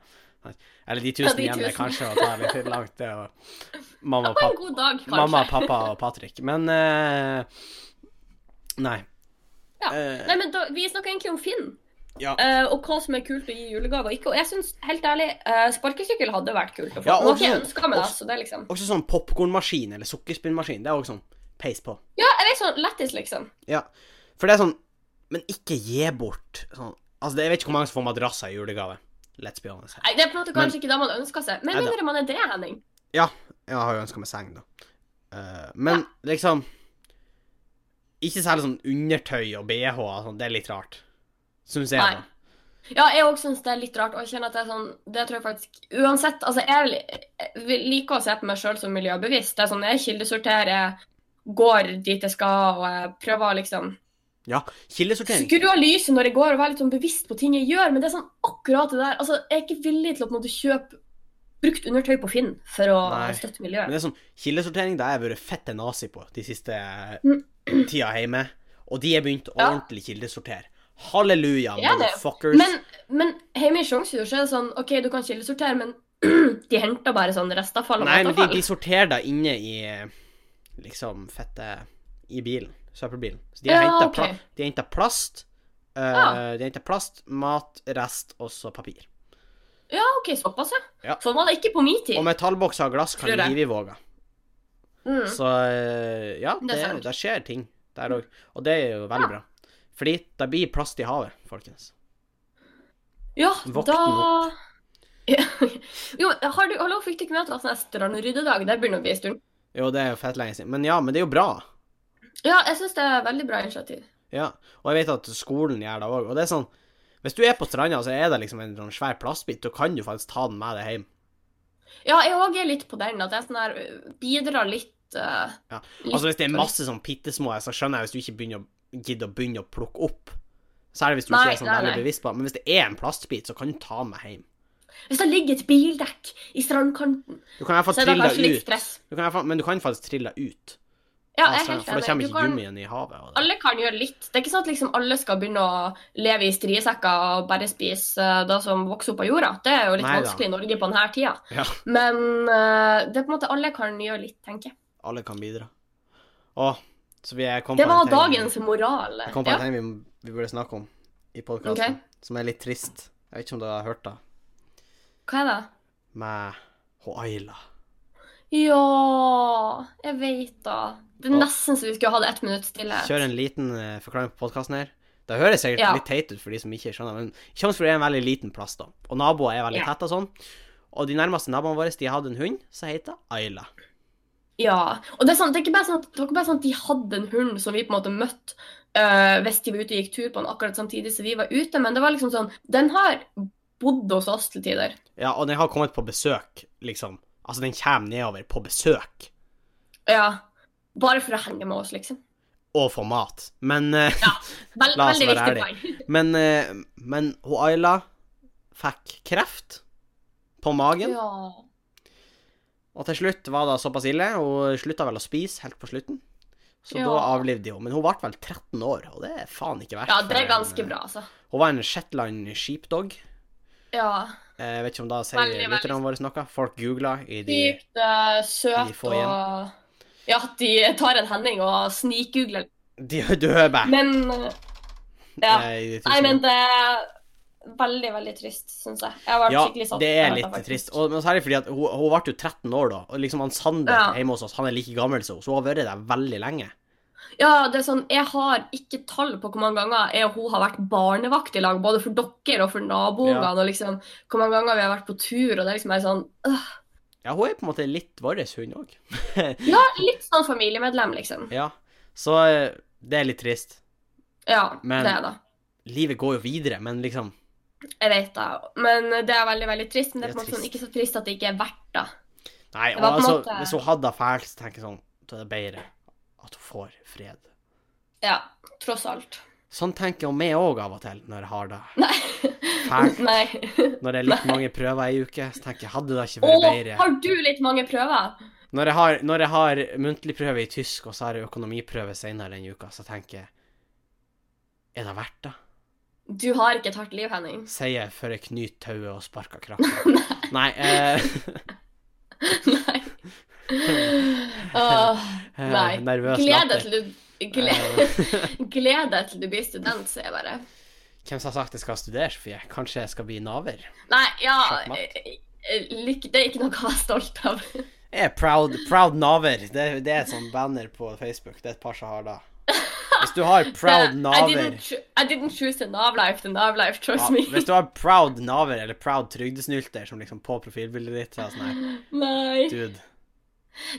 S1: Eller de tusen
S2: de
S1: hjem, det er
S2: tusen.
S1: kanskje å ta litt langt. Det og mamma og
S2: Ha en
S1: pappa,
S2: god dag, kanskje.
S1: mamma, pappa og Patrick. Men eh, Nei.
S2: Ja.
S1: Eh,
S2: Nei, men da, Vi snakker egentlig om Finn,
S1: ja.
S2: eh, og hva som er kult å gi i julegave og ikke. Og jeg synes, helt ærlig, eh, sparkesykkel hadde vært kult å få.
S1: Ja,
S2: Nå har
S1: også-
S2: ikke jeg ønsket meg det,
S1: også-
S2: så det er liksom
S1: Også sånn popkornmaskin eller sukkerspinnmaskin. Det er også sånn peis på.
S2: Ja, jeg vet sånn lættis, liksom.
S1: Ja. For det er sånn Men ikke gi bort sånn Altså, det- jeg vet ikke hvor mange som får madrasser i julegave. Let's be honest.
S2: Nei, Det er på en måte
S1: Men-
S2: kanskje ikke det man ønsker seg. Men
S1: Neida.
S2: mindre man er det, Henning.
S1: Jeg har jo ønska meg seng, da. Eh, men liksom Ikke særlig sånn undertøy og bh. og Sånn, det er litt rart. Syns jeg,
S2: Nei.
S1: da.
S2: Ja, jeg òg syns det er litt rart. Og jeg kjenner at det er sånn Det tror jeg faktisk Uansett, altså, jeg vil- jeg liker å se på meg sjøl som miljøbevisst. Det er sånn, jeg kildesorterer, jeg går dit jeg skal, og jeg prøver å liksom
S1: Kildesortering.
S2: skru av lyset når jeg går, og være litt sånn bevisst på ting jeg gjør. Men det er sånn akkurat det der Altså, jeg er ikke villig til å på en måte kjøpe brukt undertøy på Finn for å
S1: Nei.
S2: støtte
S1: Men
S2: miljøet.
S1: det er sånn kildesortering det har jeg vært fette nazi på de siste
S2: Mm.
S1: tida hjemme. Og de har begynt å
S2: Ja.
S1: ordentlig kildesortere. Halleluja,
S2: Ja, det-
S1: motherfuckers.
S2: Men, men hjemme i Sjongsfjord så er det sånn OK, du kan kildesortere, men de henter bare sånn restavfall og
S1: Nei, men de,
S2: matavfall.
S1: de sorterer deg inne i liksom fette i bilen. Søppelbilen. Så de har
S2: Ja,
S1: hentet
S2: ok. Ah.
S1: pla de har hentet plast. eh,
S2: Ja.
S1: De har hentet plast, mat, rest, og så papir.
S2: Ja, OK, såpass, ja.
S1: Ja.
S2: Sånn var det ikke på min tid.
S1: Og metallbokser og glass kan
S2: Tror jeg.
S1: rive i våga.
S2: Mm.
S1: Så eh, ja,
S2: Det
S1: det,
S2: er sant.
S1: det skjer ting der òg. Og det er jo veldig bra. Fordi det blir plast i havet, folkens.
S2: Ja,
S1: Våkn
S2: da Ja. Jo, har du, hallo, fikk du ikke med at det var sånn her strandryddedag? Det begynner å bli en stund.
S1: Jo, det er jo fett lenge siden. Men ja, men det er jo bra.
S2: Ja, jeg syns det er veldig bra initiativ.
S1: Ja. Og jeg vet at skolen gjør det òg. Og det er sånn Hvis du er på stranda, så er det liksom en sånn svær plastbit, da kan du faktisk ta den med deg hjem.
S2: Ja, jeg òg er litt på den, at jeg sånn her øh, bidrar litt øh,
S1: Ja,
S2: litt-
S1: Altså Hvis det er masse sånn pittesmå, så skjønner jeg hvis du ikke begynner å gidder å begynne å plukke opp. Særlig hvis du
S2: Nei,
S1: ikke er sånn
S2: nei,
S1: veldig
S2: nei.
S1: bevisst på det. Men hvis det er en plastbit, så kan du ta den med hjem.
S2: Hvis det ligger et bildekk i strandkanten,
S1: Du kan i hvert fall
S2: så er det
S1: trille
S2: kanskje
S1: den
S2: litt
S1: ut.
S2: stress.
S1: Du kan i hvert fall, men du kan faktisk trille den ut.
S2: Ja,
S1: av
S2: jeg er
S1: stranda, Altså,
S2: helt
S1: for da
S2: enig.
S1: kommer
S2: Du
S1: ikke
S2: kan,
S1: gummien i havet. Og det.
S2: alle kan gjøre litt. Det er ikke sånn at liksom alle skal begynne å leve i striesekker og bare spise øh, det som vokser opp av jorda. Det er jo litt
S1: Neida.
S2: vanskelig i Norge på denne tida.
S1: Ja.
S2: Men øh, det er på en måte alle kan gjøre litt, tenker jeg.
S1: Alle kan bidra. Å, så vi er kom
S2: Det
S1: på en
S2: var
S1: ting-
S2: dagens moral.
S1: Jeg kom på
S2: Ja.
S1: en ting vi, vi burde snakke om i podkasten, som er litt trist. Jeg vet ikke om du har hørt det,
S2: Hva er det?
S1: med hun Ayla.
S2: Ja, jeg veit da. Det er
S1: Å.
S2: nesten så vi skulle hatt ett minutt stillhet.
S1: Kjøre en liten eh, forklaring på podkasten her. Det høres sikkert
S2: Ja.
S1: litt teit ut for de som ikke skjønner, men Tjomsfjord er en veldig liten plass, da. Og naboer er veldig
S2: Ja.
S1: tette og sånn. Og de nærmeste naboene våre de hadde en hund som heter Ayla.
S2: Ja. Og det er, sånn, det, er ikke bare sånn at, det var ikke bare sånn at de hadde en hund som vi på en måte møtte øh, hvis de var ute og gikk tur på den akkurat samtidig som vi var ute, men det var liksom sånn Den har bodd hos oss til tider.
S1: Ja, og den har kommet på besøk, liksom. Altså, den kommer nedover på besøk
S2: Ja. Bare for å henge med oss, liksom.
S1: og får mat. Men, eh,
S2: Vel-
S1: La oss
S2: veldig
S1: være
S2: viktig poeng.
S1: men, eh, men hun Ayla fikk kreft på magen.
S2: Ja.
S1: Og til slutt var det såpass ille. Hun slutta vel å spise helt på slutten. Så
S2: Ja.
S1: da avlivde de henne. Men hun ble vel 13 år, og det er faen ikke verst.
S2: ja,
S1: for
S2: det er
S1: en,
S2: ganske
S1: eh,
S2: bra, altså.
S1: Hun var en Shetland sheepdog.
S2: Ja.
S1: Jeg vet ikke om da sier
S2: Veldig, veldig
S1: lytterne våre noe. Folk googler i de
S2: Sykt eh, søt
S1: de får igjen.
S2: og Ja, at de tar en Henning og snikgoogler.
S1: De døde bæ.
S2: Men eh, Ja.
S1: Eh,
S2: Nei, men
S1: det
S2: det er veldig, veldig trist, syns jeg. Jeg var
S1: ja,
S2: skikkelig satt
S1: det
S2: ut
S1: er
S2: av
S1: litt
S2: faktisk.
S1: trist. Og, men særlig fordi at hun, hun ble jo 13 år da, og liksom han Sander
S2: Ja.
S1: hjemme hos oss, han er like gammel som henne, så hun har vært der veldig lenge.
S2: Ja, det er sånn, jeg har ikke tall på hvor mange ganger jeg og hun har vært barnevakt i lag, både for dere og for naboungene,
S1: Ja.
S2: og liksom hvor mange ganger vi har vært på tur, og det er liksom bare sånn øh.
S1: Ja, hun er på en måte litt vår hund òg.
S2: Ja, litt sånn familiemedlem, liksom.
S1: Ja. Så eh, det er litt trist.
S2: Ja,
S1: Men-
S2: det er det.
S1: Livet går jo videre, men liksom
S2: Jeg vet det. Men det er veldig, veldig trist. Men det er
S1: Det
S2: på en
S1: er
S2: måte sånn, ikke så trist at det ikke er verdt det.
S1: Nei,
S2: Det
S1: og
S2: var på en
S1: altså,
S2: måte-
S1: hvis hun hadde det fælt, så tenker jeg sånn Da er det bedre at hun får fred.
S2: Ja, tross alt.
S1: Sånn tenker jo meg òg av og til når jeg har det
S2: Nei.
S1: fælt.
S2: Nei.
S1: Når det er litt mange prøver i uke, så tenker jeg hadde det ikke
S2: Å,
S1: vært bedre.
S2: har du litt mange prøver?
S1: Når jeg har, når jeg har muntlig prøve i tysk, og så har jeg økonomiprøve senere den uka, så tenker jeg Er det verdt det?
S2: Du har ikke et hardt liv, Henning.
S1: Sier jeg før jeg knyter tauet og sparker krakka. Nei. eh,
S2: Nei. Åh,
S1: eh,
S2: nei.
S1: Nervøs
S2: Gled deg
S1: latter.
S2: til du gled, gled deg til du blir student, sier jeg bare.
S1: Hvem som har sagt jeg skal studere, Sofie? Kanskje jeg skal bli naver?
S2: Nei, ja
S1: Sjakkmatt.
S2: eh, eh, Lykke, det er ikke noe å være stolt av.
S1: Jeg er proud, proud naver. Det, det er et sånt banner på Facebook. Det er et par som har det. Hvis du har proud
S2: I
S1: naver
S2: didn't, choo- I didn't choose the nav life, the nav life chose
S1: ja,
S2: me.
S1: Hvis du har proud naver eller proud trygdesnylter som liksom på profilbildet ditt, så er det sånn her
S2: Nei.
S1: Dude.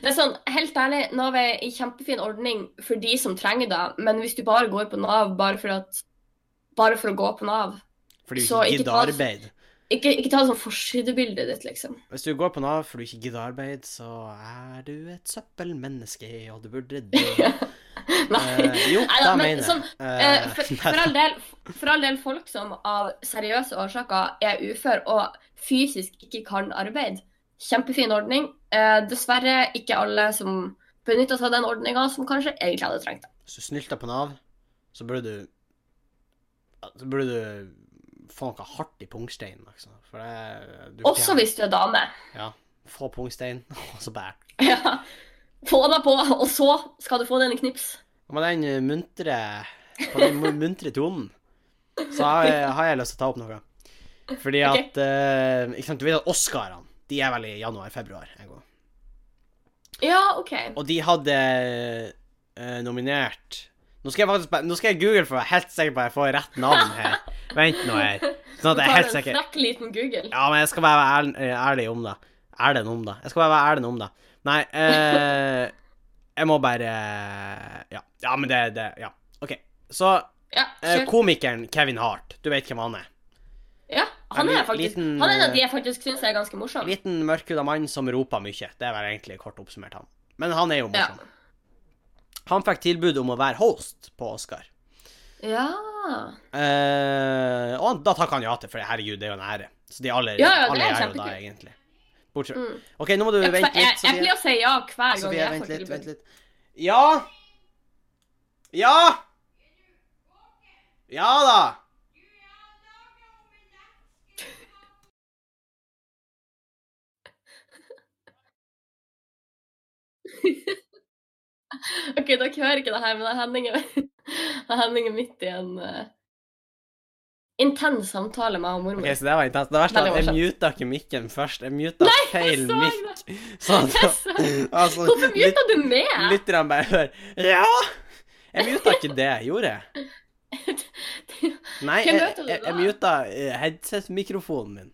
S2: Det er sånn, helt ærlig, Nav er en kjempefin ordning for de som trenger det, men hvis du bare går på Nav bare for, at, bare for å gå på Nav
S1: Fordi du
S2: Så
S1: ikke
S2: ikke
S1: gidder
S2: ta-
S1: arbeid.
S2: Ikke, ikke ta det som forsidebildet ditt, liksom.
S1: Hvis du går på Nav fordi du ikke gidder arbeid, så er du et søppelmenneske, og du burde dø.
S2: Nei.
S1: Eh, jo,
S2: Nei
S1: det
S2: da, men
S1: mener jeg.
S2: sånn,
S1: Eh,
S2: eh, for,
S1: nei.
S2: for, all del, for all del folk som av seriøse årsaker er ufør og fysisk ikke kan arbeid. Kjempefin ordning. Eh, dessverre ikke alle som benytter seg av den ordninga, som kanskje egentlig hadde trengt det.
S1: Hvis du snylter på Nav, så burde du ja, Så burde du få noe hardt i pungsteinen, liksom. For det du
S2: Også
S1: fortjener-
S2: hvis du er dame.
S1: Ja. Få pungstein, og så bære.
S2: Ja. Få deg på, og så skal du få den i knips.
S1: Og med den eh, muntre På den mu- muntre tonen, så har jeg, har jeg lyst til å ta opp noe. Fordi at
S2: Ok.
S1: eh, Ikke sant, du vet at Oscarene, de er vel i januar-februar en gang.
S2: Ja, OK.
S1: Og de hadde eh, nominert nå skal, jeg faktisk, bare- nå skal jeg google for å være helt sikker på at jeg får rett navn her. Vent nå her. Sånn at jeg er helt
S2: en
S1: sikker.
S2: frekk liten Google.
S1: Ja, men jeg skal bare være ærl- eh, ærlig om det. Ærlig om det. Jeg skal bare være ærlig om det. Nei, eh, jeg må bare Ja, ja men det, det Ja, OK. Så
S2: Ja,
S1: eh,
S2: kjør.
S1: komikeren Kevin Hart, du vet hvem han er?
S2: Ja, han
S1: en
S2: er
S1: li-
S2: faktisk
S1: liten,
S2: Han er en av
S1: eh,
S2: de jeg faktisk syns er ganske morsom.
S1: Liten, mørkhuda mann som roper mye. Det er vel egentlig kort oppsummert han. Men han er jo
S2: Ja.
S1: morsom. Han fikk tilbud om å være host på Oscar.
S2: Ja.
S1: Eh, og han, da takker han ja til, for herregud, det er jo en ære. Så de alle,
S2: Ja, ja, det
S1: alle
S2: er
S1: er, jo da,
S2: kjempekult.
S1: egentlig. Bortsett
S2: Mm.
S1: OK, nå må du
S2: Jeg,
S1: vente
S2: jeg,
S1: litt,
S2: jeg pleier
S1: Sofie.
S2: å si ja hver gang
S1: Sofie,
S2: jeg
S1: vent
S2: får
S1: litt, vent
S2: tilbud.
S1: litt. Ja! Ja! Ja da!
S2: OK, dere hører ikke det her, men det er Henning er- det er Henning er midt i en eh, intens samtale med han og
S1: OK,
S2: mormor.
S1: så det var intenst. Det verste er at jeg
S2: Veldig
S1: muta ikke mikken først. Jeg muta feil
S2: så
S1: mikk.
S2: jeg
S1: Sånn
S2: Jeg
S1: at
S2: så-
S1: altså,
S2: Hvorfor
S1: lyt-
S2: begynte du med?
S1: lytterne bare hører Ja! Jeg muta ikke det, gjorde jeg? Nei, jeg,
S2: Hvem muta du
S1: jeg,
S2: da?
S1: jeg muta eh, headset-mikrofonen min.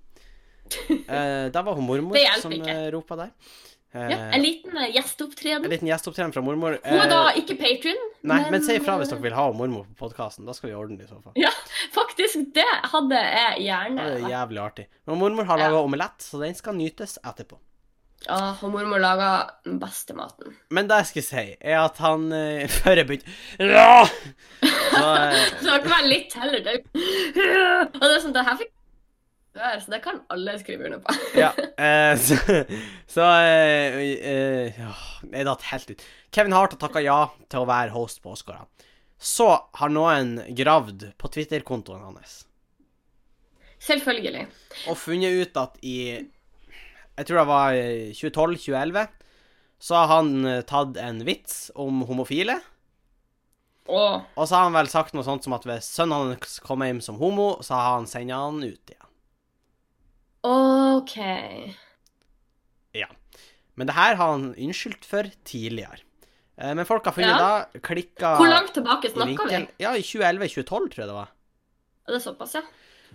S1: Eh, da var hun mormor
S2: Det hjelper
S1: som
S2: ikke.
S1: uh, ropa der. Eh,
S2: Ja, en liten eh,
S1: en
S2: gjesteopptreden.
S1: liten gjesteopptreden fra mormor.
S2: Hun
S1: Eh,
S2: er da ikke patron,
S1: nei, men si ifra hvis dere vil ha mormor på podkasten. Da skal vi ordne det i så fall.
S2: Faktisk, det hadde jeg gjerne.
S1: Det er jævlig artig. Men mormor har
S2: Ja.
S1: laga omelett, så den skal nytes etterpå.
S2: Ja, og mormor lager den beste maten.
S1: Men det jeg skulle si, er at han eh, Før jeg begynte Ja! Så, eh,
S2: Så det kan være litt heller det. Og det er sånn, det her fikk før, så det kan alle skrive under på.
S1: Ja. eh, så så eh, eh, ja, Jeg datt helt ut. Kevin Hart har takka ja til å være host på Oscar. Så har noen gravd på Twitter-kontoen hans
S2: Selvfølgelig.
S1: og funnet ut at i Jeg tror det var 2012-2011, så har han eh, tatt en vits om homofile.
S2: Og
S1: Og så har han vel sagt noe sånt som at hvis sønnen hans kommer hjem som homo, så har han sendt han ut igjen.
S2: OK.
S1: Men det her har han unnskyldt for tidligere. Eh, Men folk har funnet
S2: Ja.
S1: da klikka
S2: Hvor langt tilbake
S1: i
S2: snakker vi?
S1: vinkel. Ja, i 2011-2012, tror jeg det var.
S2: Er det såpass, ja?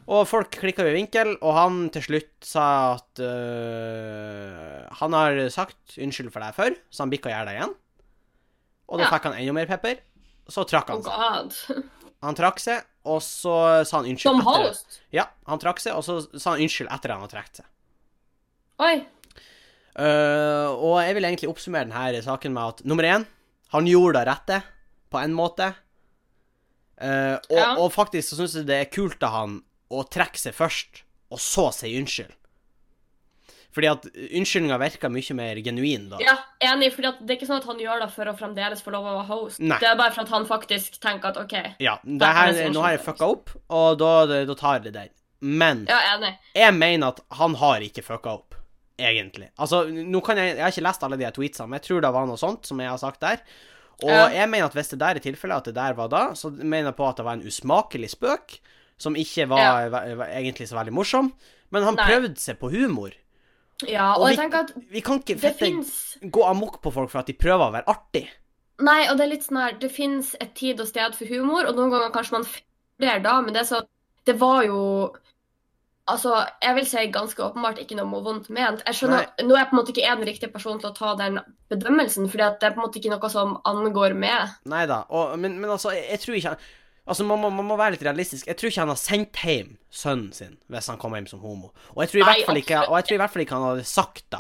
S1: Og folk klikka i vinkel, og han til slutt sa at øh, Han har sagt unnskyld for deg før, så han bikka gjerne igjen. Og da
S2: Ja.
S1: fikk han enda mer pepper. Så trakk
S2: Oh
S1: han seg.
S2: god.
S1: Han trakk seg, og så sa han unnskyld.
S2: Som
S1: etter-
S2: host?
S1: Ja, han trakk seg, og så sa han unnskyld etter at han hadde trukket seg.
S2: Oi.
S1: Eh, og jeg vil egentlig oppsummere denne saken med at nummer én, han gjorde det rette, på en måte. Eh, og,
S2: Ja.
S1: og faktisk så syns jeg det er kult av han å trekke seg først, og så si unnskyld. Fordi at unnskyldninga virker mye mer genuin da.
S2: Ja, enig. For det er ikke sånn at han gjør det for å fremdeles få lov å være host.
S1: Nei.
S2: Det er bare for at han faktisk tenker at OK.
S1: Ja, det
S2: Da er
S1: her,
S2: det så
S1: nå har jeg
S2: skjønt.
S1: fucka opp, og da, da tar jeg det der. Men
S2: Ja, enig.
S1: jeg mener at han har ikke fucka opp, egentlig. Altså, nå kan jeg, jeg har ikke lest alle de her tweetsene, men jeg tror det var noe sånt som jeg har sagt der. Og
S2: Ja.
S1: jeg mener at hvis det der er tilfellet, at det der var da, så mener jeg på at det var en usmakelig spøk, som ikke var,
S2: Ja.
S1: var, var egentlig så veldig morsom, men han
S2: Nei.
S1: prøvde seg på humor.
S2: Ja, og,
S1: Og
S2: jeg tenker at
S1: Vi kan ikke
S2: det
S1: fette,
S2: fins
S1: gå amok på folk for at de prøver å være artig.
S2: Nei, og det er litt sånn her Det fins et tid og sted for humor, og noen ganger kanskje man feiler da, men det er så Det var jo Altså, jeg vil si ganske åpenbart ikke noe vondt ment. Jeg skjønner, Nå er jeg på en måte ikke jeg den riktige personen til å ta den bedømmelsen, fordi at det er på en måte ikke noe som angår meg.
S1: Nei da. Men, men altså, jeg, jeg tror ikke han Altså, man må, man må være litt realistisk. Jeg tror ikke han har sendt hjem sønnen sin hvis han kom hjem som homo. Og jeg tror i
S2: Nei,
S1: hvert fall ikke, og jeg tror i hvert fall ikke han hadde sagt det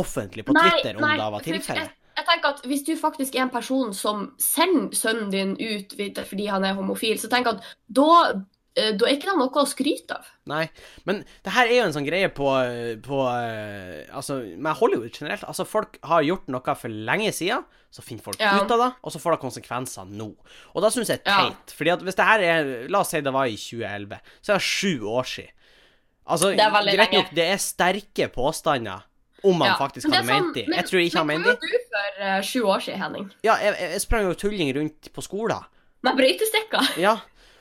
S1: offentlig på Twitter om det var
S2: for
S1: tilfellet.
S2: Jeg, jeg tenker at Hvis du faktisk er en person som sender sønnen din ut vid- fordi han er homofil, så tenk at da, eh, da er ikke det noe å skryte av.
S1: Nei. Men det her er jo en sånn greie på, på eh, Altså, med Hollywood generelt. Altså, folk har gjort noe for lenge siden, så finner folk
S2: Ja.
S1: ut av det, og så får det konsekvenser nå. Og da syns jeg det er
S2: Ja.
S1: teit. Fordi at hvis det her er La oss si det var i 2011, så er det sju år siden. Altså,
S2: Det er veldig
S1: greit
S2: lenge.
S1: nok, det er sterke påstander om han
S2: Ja,
S1: faktisk
S2: men det
S1: hadde
S2: er sånn-
S1: ment de. Jeg tror ikke han
S2: men
S1: mente de.
S2: Hva gjorde du for eh, sju år siden, Henning?
S1: Ja, jeg, jeg- jeg sprang jo tulling rundt på skolen.
S2: Med brøytestikker?
S1: Ja,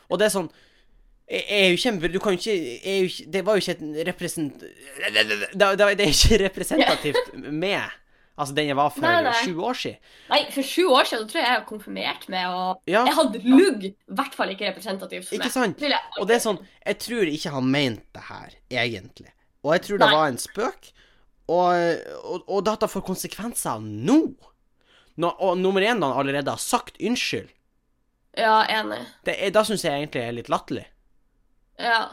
S1: og det er sånn jeg jeg er jo kjempe... Du kan jo ikke, jeg er jo ikke Det var jo ikke et represent... Det, det, det er ikke representativt med Altså, den jeg var for
S2: Nei, nei.
S1: sju år siden.
S2: Nei, for sju år siden da tror jeg jeg var konfirmert med å
S1: Ah, Ja,
S2: Jeg hadde lugg, i hvert fall ikke representativt for
S1: ikke
S2: meg.
S1: sant?
S2: Vil jeg-
S1: Og det er sånn Jeg tror ikke han mente det her, egentlig. Og jeg tror det
S2: Nei.
S1: var en spøk. Og, og, og dette får konsekvenser nå. Nå- og nummer én, da han allerede har sagt unnskyld,
S2: Ja, enig.
S1: det, er- da syns jeg egentlig er litt latterlig.
S2: Ja.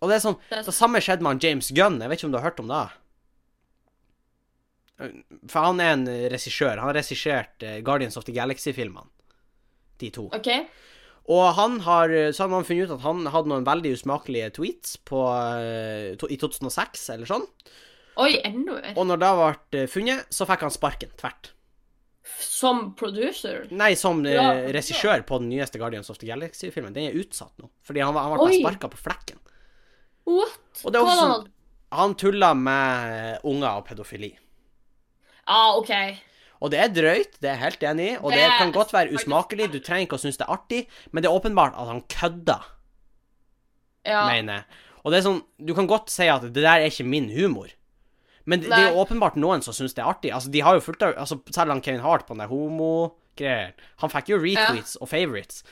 S1: Og det er sånn
S2: Det er
S1: Det samme skjedde med han James Gunn. Jeg vet ikke om du har hørt om det? For han er en regissør. Han har regissert eh, Guardians of the Galaxy-filmene. De to.
S2: OK?
S1: Og han har, så har man funnet ut at han hadde noen veldig usmakelige tweets på, eh, to, i 2006 eller sånn.
S2: Oi, enda mer.
S1: Og når det ble eh, funnet, så fikk han sparken tvert.
S2: Som producer?
S1: Nei, som eh,
S2: Ja, ja.
S1: regissør på den nyeste Guardians of the Galaxy-filmen. Den er utsatt nå. Fordi han, var- han ble
S2: Oi.
S1: sparka på flekken.
S2: What?
S1: Og det er
S2: Hva
S1: også
S2: hadde
S1: sånn, han tulla med eh, unger og pedofili.
S2: Ja, OK.
S1: Og det er drøyt, det er jeg helt enig i, og det,
S2: Det er
S1: kan godt være
S2: faktisk-
S1: usmakelig, du trenger ikke å synes det er artig, men det er åpenbart at han kødda,
S2: Ja.
S1: mener jeg. Og det er sånn, du kan godt si at det der er ikke min humor, men det, det er jo åpenbart noen som synes det er artig. Altså, de har jo fulgt av, altså, selv han Kevin Hart på den der homo-greier, han fikk jo retweets og favorites.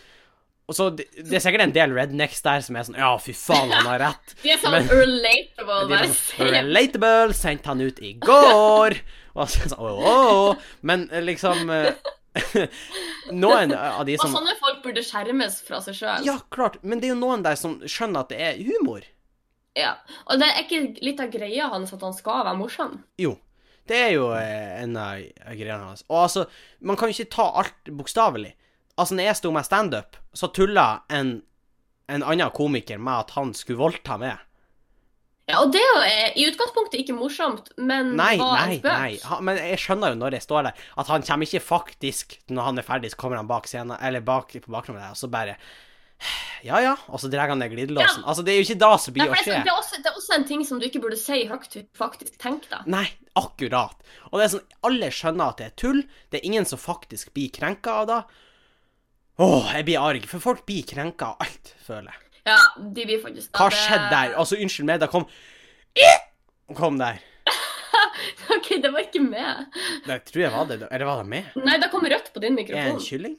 S1: Og så, det, det er sikkert en del rednecks der som er sånn, ja, fy faen, han har rett.
S2: De er sånn
S1: Men-
S2: relatable.
S1: De er
S2: bare
S1: sånn,
S2: sier-
S1: Relatable sendte han ut i går! Og så sånn, åh, åh, åh. Men eh, liksom eh, Noen av de
S2: Og sånn-
S1: som
S2: sånne folk burde skjermes fra seg sjøl.
S1: Ja, klart, men det er jo noen der som skjønner at det er humor.
S2: Ja. Og det er ikke litt av greia hans at han skal være morsom.
S1: Jo. Det er jo eh, en av greiene hans. Og altså, man kan jo ikke ta alt bokstavelig. Altså, når jeg sto med standup, så tulla en, en annen komiker med at han skulle voldta meg.
S2: Ja, Og det er jo eh, i utgangspunktet ikke morsomt, men
S1: Nei,
S2: det var
S1: nei,
S2: en Mm, spøk.
S1: nei. Han, men jeg skjønner jo når jeg står der, at han kommer ikke faktisk Når han er ferdig, så kommer han bak scenen, eller bak på bakrommet der, og så bare Ja, ja. Og så drar han ned glidelåsen. Altså, det er jo ikke da som
S2: Nei,
S1: blir å
S2: for det, er
S1: skje.
S2: sånn- det, er også, det er også en ting som du ikke burde si høyt hvis du faktisk tenker deg.
S1: Nei, akkurat. Og det er sånn, alle skjønner at det er tull. Det er ingen som faktisk blir krenka av det. Åh, jeg blir arg, for folk blir krenka av alt, føler jeg.
S2: Ja, de blir faktisk
S1: Hva
S2: Ja, det-
S1: skjedde der? Altså, unnskyld meg, det kom Kom der.
S2: OK, det var ikke meg.
S1: Det tror jeg var det. Eller var det meg?
S2: Nei, da kom rødt på din
S1: Er jeg en
S2: mikrofon.
S1: kylling?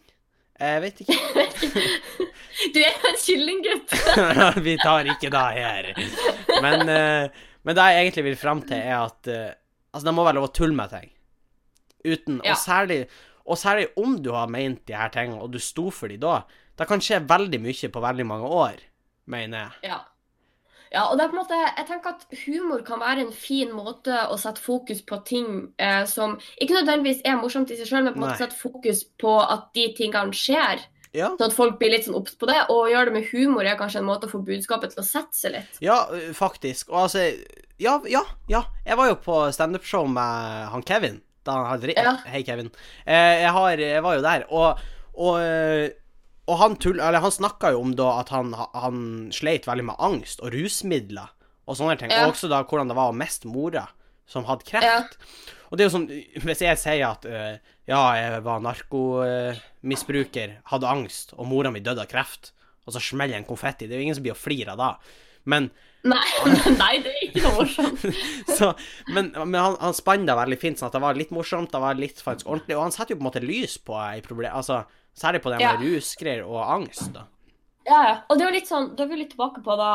S1: Jeg vet ikke.
S2: Du er en kyllinggutt.
S1: Vi tar ikke det her. Men, eh, men det jeg egentlig vil fram til, er at eh, Altså, det må være lov å tulle med ting. Uten
S2: Ja.
S1: og, særlig, og særlig om du har ment de her tingene, og du sto for de da. Det kan skje veldig mye på veldig mange år, mener jeg.
S2: Ja. ja, og det er på en måte, jeg tenker at humor kan være en fin måte å sette fokus på ting eh, som ikke nødvendigvis er morsomt i seg sjøl, men på en måte
S1: Nei.
S2: sette fokus på at de tingene skjer.
S1: Ja.
S2: Sånn at folk blir litt sånn obs på det. Og å gjøre det med humor er kanskje en måte å få budskapet til å sette seg litt.
S1: Ja, ø, faktisk. Og altså Ja, ja. ja. Jeg var jo på standup-show med han Kevin. Da han hadde dri-
S2: Ja.
S1: Hei, Kevin. Eh, Jeg, har, jeg var jo der, og, og, ø, og han, tull, eller han snakka jo om da at han, han sleit veldig med angst og rusmidler og sånne ting.
S2: Ja.
S1: Og også da hvordan det var å miste mora, som hadde kreft.
S2: Ja.
S1: Og det er jo sånn, hvis jeg sier at eh, ja, jeg var narkomisbruker, hadde angst, og mora mi døde av kreft, og så smeller en konfetti, det er jo ingen som blir å flire av da. Men,
S2: Nei, nei, det er ikke noe morsomt.
S1: så, men, men han, han spann det veldig fint, sånn at det var litt morsomt, det var litt faktisk ordentlig, og han setter jo på en måte lys på ei problem, altså, særlig på det med rusgreier og angst, da.
S2: Ja, ja. Og det er jo litt sånn, da er vi litt tilbake på da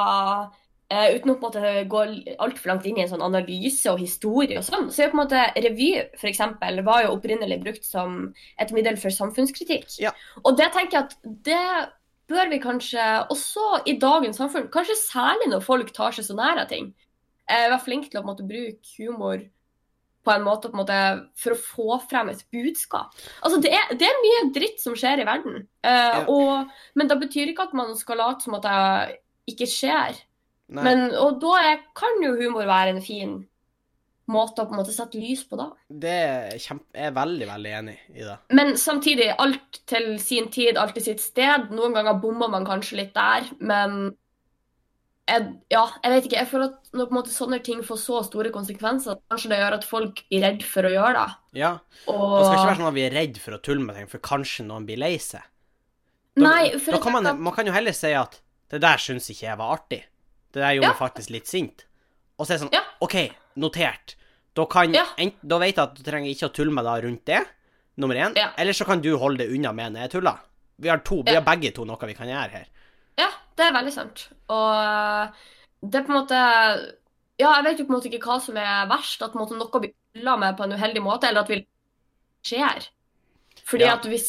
S2: eh, Uten å på en måte gå altfor langt inn i en sånn analyse og historie og sånn, så er jo på en måte revy for eksempel, var jo opprinnelig brukt som et middel for samfunnskritikk.
S1: Ja.
S2: Og det tenker jeg at det bør vi kanskje også i dagens samfunn, kanskje særlig når folk tar seg så nær av ting, eh, være flink til å på en måte bruke humor på en måte, på en måte for å få frem et budskap. Altså, det er, det er mye dritt som skjer i verden. Eh,
S1: Ja.
S2: og men det betyr ikke at man skal late som at det ikke skjer.
S1: Nei.
S2: Men, og da er, kan jo humor være en fin måte å på en måte sette lys på, da.
S1: Det er kjempe, jeg er veldig, veldig enig i det.
S2: Men samtidig, alt til sin tid, alt til sitt sted. Noen ganger bommer man kanskje litt der, men jeg, ja, jeg vet ikke. Jeg føler at når på en måte sånne ting får så store konsekvenser, kanskje det gjør at folk blir redd for å gjøre det.
S1: Ja,
S2: Og,
S1: det skal ikke være sånn at vi er redd for å tulle med ting, for kanskje noen blir lei seg. Da,
S2: Nei, for
S1: da
S2: jeg
S1: kan man,
S2: tenker at-
S1: man kan jo heller si at det der syns ikke jeg var artig. Det der gjorde
S2: Ja.
S1: meg faktisk litt sint. Og så er det sånn
S2: Ja.
S1: OK, notert. Da, kan,
S2: Ja.
S1: ent, da vet jeg at du trenger ikke å tulle med deg rundt det, nummer én.
S2: Ja.
S1: Eller så kan du holde det unna med når jeg tuller. Vi har, to, vi
S2: Ja.
S1: har begge to noe vi kan gjøre her.
S2: Ja, det er veldig sant. Og det er på en måte Ja, jeg vet jo på en måte ikke hva som er verst, at på en måte noe blir tulla med på en uheldig måte, eller at vi skjer. Fordi
S1: Ja.
S2: at hvis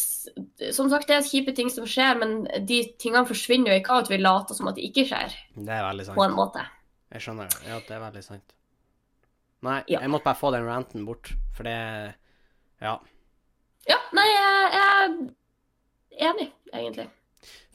S2: Som sagt, det er kjipe ting som skjer, men de tingene forsvinner jo ikke av at vi later som at det ikke skjer,
S1: Det er veldig
S2: på en
S1: sant.
S2: måte.
S1: Jeg skjønner det. Ja, det er veldig sant. Nei,
S2: Ja.
S1: jeg måtte bare få den ranten bort, for det Ja.
S2: Ja, nei, jeg jeg er enig, egentlig.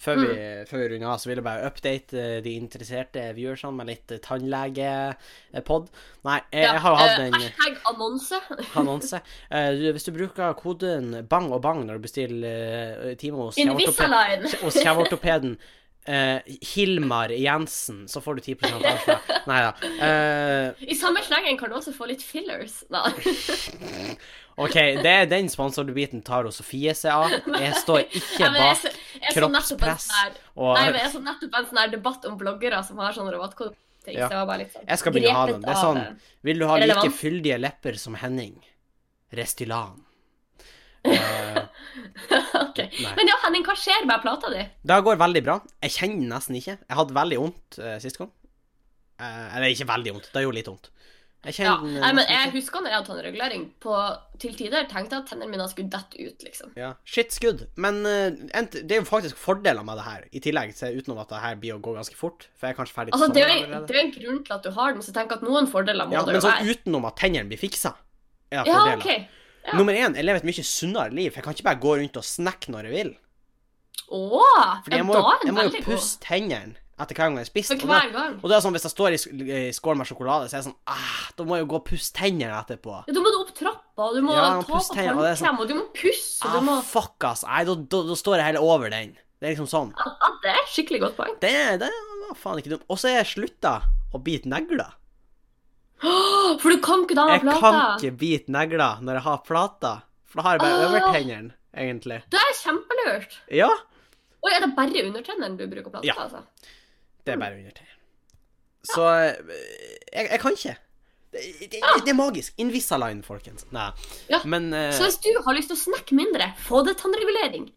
S1: Før vi,
S2: Mm.
S1: før vi runder av, så vil jeg bare update eh, de interesserte viewersene med litt eh, tannlegepod. Nei, jeg, jeg har jo hatt
S2: eh,
S1: en
S2: Hashtag annonse.
S1: annonse. Eh, du, hvis du bruker koden bang og bang når du bestiller eh, time hos kjeveortoped-
S2: Invisalign.
S1: hos kjeveortopeden eh, Hilmar Jensen, så får du 10 avslag. Nei da. Eh,
S2: I samme slengen kan du også få litt fillers. Nei.
S1: OK, det er den sponsorbiten tar hun Sofie seg av. Jeg står ikke
S2: Ja, men jeg
S1: bak
S2: så- jeg så nettopp en
S1: kroppspress
S2: sånn her-
S1: og
S2: Nei, men jeg så nettopp en sånn her debatt om bloggere som har sånn rabattkode. Så
S1: Ja.
S2: jeg var bare litt sånn
S1: Jeg skal begynne å ha
S2: grepet
S1: den. Det er
S2: av-
S1: sånn Vil du ha like
S2: Relevant.
S1: fyldige lepper som Henning? Restylan. Eh,
S2: Ok.
S1: Nei.
S2: Men ja, Henning, hva skjer med plata di?
S1: det går veldig bra. Jeg kjenner nesten ikke. Jeg hadde veldig vondt eh, sist gang. Eh, eller ikke veldig vondt, det gjorde litt vondt. Jeg
S2: Ja.
S1: kjenner
S2: Nei, men
S1: nesten
S2: jeg husker når jeg hadde tannregulering, på til tider tenkte jeg at tennene mine skulle dette ut, liksom.
S1: ikke. ja. Shit skudd. Men eh, ent- det er jo faktisk fordeler med det her, i tillegg til utenom at det her blir å gå ganske fort. For jeg er kanskje ferdig til
S2: Altså, det er,
S1: sommeren
S2: jo-
S1: sånn allerede.
S2: det er jo en grunn til at du har den, så jeg tenker at noen fordeler må
S1: Ja,
S2: det
S1: men
S2: jo
S1: sånn
S2: være.
S1: utenom at tennene blir fiksa, er det
S2: Ja,
S1: fordeler.
S2: OK. Ja.
S1: Nummer én, jeg lever et mye sunnere liv. For jeg kan ikke bare gå rundt og snakke når jeg vil.
S2: Å!
S1: Fordi
S2: Ja,
S1: jeg må, jo-
S2: da er
S1: jeg
S2: den
S1: må
S2: veldig
S1: jo
S2: god.
S1: pusse tennene etter hver gang jeg har spist. Og
S2: For
S1: da,
S2: hver gang.
S1: og da er det sånn, hvis jeg står i sk- i skål med sjokolade, så er jeg sånn ah, Da må jeg jo gå og pusse tennene etterpå.
S2: Ja, Da må du opp trappa, og du må
S1: Ja, jeg må
S2: ta
S1: pusse
S2: på
S1: tennene, og det er sånn-
S2: håndkrem, og du må pusse, og
S1: Ah,
S2: du må
S1: fuck, ass. Nei, da, da, da står jeg heller over den. Det er liksom sånn.
S2: Ja, det er et skikkelig godt poeng.
S1: Det, det var faen ikke dumt. Og så er jeg slutta å bite negler.
S2: Åh, For du kan ikke da ha
S1: Jeg kan
S2: Ah, plata?
S1: ikke bite negler når jeg har plater. For da har jeg bare
S2: Ah.
S1: overtennene, egentlig.
S2: Det er kjempelurt.
S1: Ja.
S2: Oi, er det bare undertennene du bruker plata?
S1: Ja.
S2: Altså?
S1: Det er bare undertøy. Så eh, jeg, jeg kan ikke. Det, det, det er magisk. Invisalign, folkens. Nei.
S2: Ah. Ja.
S1: Men eh,
S2: Så hvis du har lyst til å snakke mindre, få det tannregulering.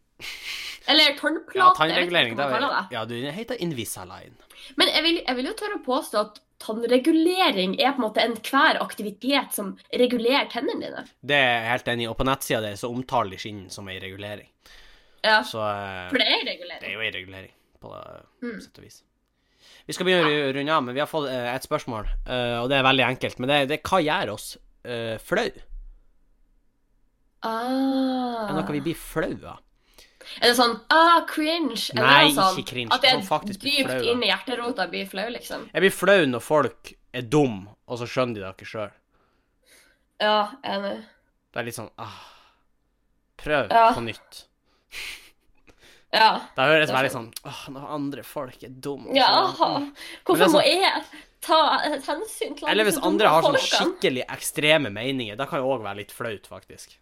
S2: Eller tannplate.
S1: Ja,
S2: jeg vet
S1: tannregulering.
S2: ikke hva
S1: det
S2: man
S1: er-
S2: kaller det.
S1: Ja, du den heter Invisalign.
S2: Men jeg vil, jeg vil jo tørre å påstå at tannregulering er på en måte enhver aktivitet som regulerer tennene dine.
S1: Det er jeg helt enig i. Og på nettsida di så omtaler de skinn som ei regulering.
S2: Ja,
S1: Så eh,
S2: for det er
S1: det er
S2: regulering.
S1: jo ei regulering, på det,
S2: Mm.
S1: sett og vis. Vi skal begynne å ru- runde av, men vi har fått eh, et spørsmål, eh, og det er veldig enkelt. Men det er, det er hva gjør oss eh, flau?
S2: Ah.
S1: Er det noe vi blir flau av?
S2: Er det sånn ah, cringe? Eller
S1: Nei,
S2: er det sånn,
S1: ikke cringe,
S2: At det
S1: sånn faktisk
S2: er
S1: blir
S2: dypt
S1: flau, da.
S2: inn i hjerterota blir flau, liksom?
S1: Jeg blir flau når folk er dum, og så skjønner de det ikke sjøl.
S2: Ja, enig.
S1: Det er litt sånn ah, Prøv
S2: Ja.
S1: på nytt.
S2: Ja.
S1: Da høres det
S2: Det er
S1: veldig sånn åh, Når andre folk er dumme.
S2: ja.
S1: så-
S2: Hvorfor
S1: sånn-
S2: må jeg ta et hensyn til
S1: Eller hvis
S2: disse dumme
S1: andre har sånn
S2: folkene?
S1: skikkelig ekstreme meninger. Da kan det òg være litt flaut, faktisk.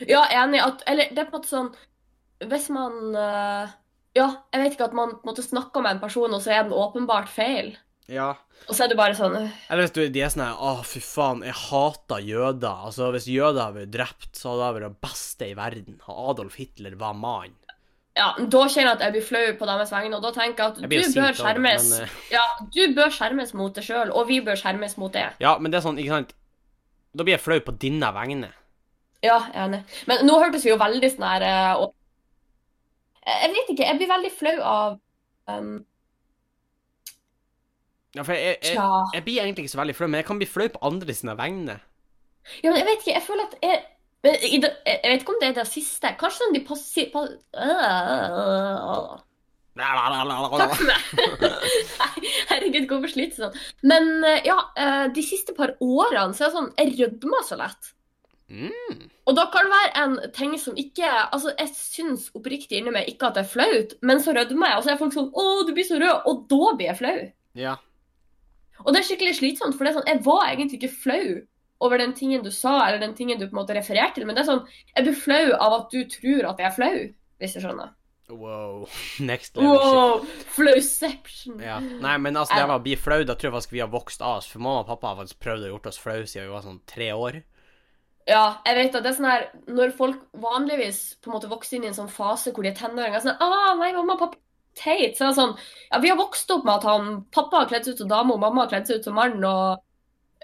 S2: Ja, enig. At, eller det er på en måte sånn Hvis man eh, Ja, jeg vet ikke at man på en måte snakker med en person, og så er den åpenbart feil.
S1: Ja.
S2: Og så er det bare sånn øh,
S1: Eller hvis du, de er sånn her Å, fy faen, jeg hater jøder. Altså, hvis jøder hadde vært drept, så hadde det vært det beste i verden. Og Adolf Hitler var mann.
S2: Ja, da kjenner jeg at jeg blir flau på deres vegne, og da tenker jeg
S1: Jeg
S2: at
S1: blir jo
S2: du bør
S1: sint av det,
S2: skjermes.
S1: men, eh.
S2: Ja, du bør skjermes mot det sjøl, og vi bør skjermes mot det.
S1: Ja, men det er sånn, ikke sant Da blir jeg flau på dine vegne.
S2: Ja, jeg er enig. Men nå hørtes vi jo veldig sånn her eh, og... Jeg vet ikke, jeg blir veldig flau av ehm,
S1: Ja, for jeg, jeg, jeg,
S2: Tja.
S1: jeg blir egentlig ikke så veldig flau, men jeg kan bli flau på andre sine vegne.
S2: Ja, men jeg vet ikke, jeg føler at jeg men i det- jeg jeg vet ikke om det er det siste. Kanskje sånn de passi... Pa... Øh. Takk for meg. Nei, Herregud, hvorfor sliter jeg sånn? Men eh, ja, eh, de siste par årene så er det sånn Jeg rødmer så lett.
S1: Mm.
S2: Og da kan det være en ting som ikke Altså, jeg syns oppriktig inni meg ikke at det er flaut, men så rødmer jeg, og så er folk sånn 'Å, du blir så rød', og da blir jeg flau.
S1: Ja.
S2: Og det er skikkelig slitsomt, for det er sånn, jeg var egentlig ikke flau over den tingen du sa, eller den tingen du på en måte refererte til, men det er sånn, jeg blir flau av at du tror at jeg er flau, hvis du skjønner.
S1: Wow. Next level shit.
S2: Wow, flauception.
S1: Ja. Nei, men altså, det var å bli flau. Da tror jeg faktisk vi har vokst av oss. For mamma og pappa har faktisk prøvd å gjort oss flau siden vi var sånn tre år.
S2: Ja, jeg vet at det er sånn her, når folk vanligvis på en måte vokser inn i en sånn fase hvor de er tenåringer, sånn, ah, nei, mamma, pappa, teit, så er det sånn, ja, vi har vokst opp med at han, pappa har kledd seg ut som dame, og mamma har kledd seg ut som mann, og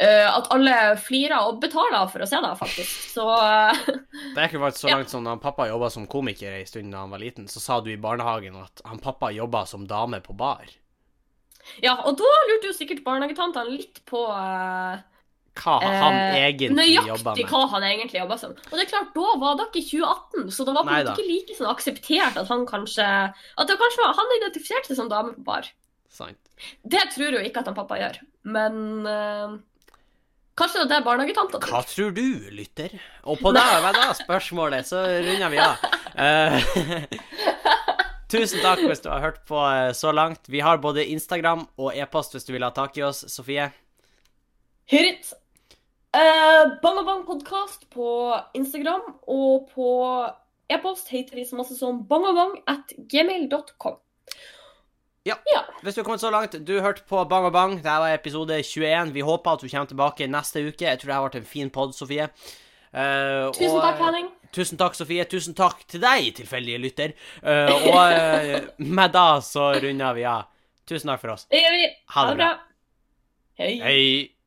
S2: eh, at alle flirer og betaler for å se det, faktisk. Så... eh,
S1: Det gikk jo faktisk så
S2: Ja.
S1: langt som da han pappa jobba som komiker en stund da han var liten, så sa du i barnehagen at han pappa jobba som dame på bar.
S2: Ja, og da lurte jo sikkert barnehagetantene litt på eh,
S1: Hva har han
S2: eh,
S1: egentlig jobba
S2: nøyaktig
S1: med?
S2: hva han egentlig jobba som. Og det er klart, da var dere i 2018, så det var på en
S1: Neida.
S2: måte ikke like sånn akseptert at han kanskje At det kanskje var, han identifiserte seg som dame på bar.
S1: Sant.
S2: Det tror jo ikke at han pappa gjør, men eh, Kanskje det er barnehagetanta.
S1: Hva tror du, lytter? Og på det, hva da spørsmålet, så runder vi av. Eh, Tusen takk hvis du har hørt på eh, så langt. Vi har både Instagram og e-post hvis du vil ha tak i oss, Sofie.
S2: Hyrit. Uh, Bang og Bang podkast på Instagram og på e-post heter vi så masse som bangabang at gmail.com.
S1: Hvis du har kommet så langt, du hørte på Bang og Bang. Dette var episode 21. Vi håper at du kommer tilbake neste uke. Jeg tror det har vært en fin pod, Sofie. Eh,
S2: Tusen
S1: og-
S2: takk, Henning.
S1: Tusen takk, Sofie. Tusen takk til deg, tilfeldige lytter. Eh, og eh, med da så runder vi av. Tusen takk for oss.
S2: Det gjør vi. Ha det bra. Hei.
S1: Hei.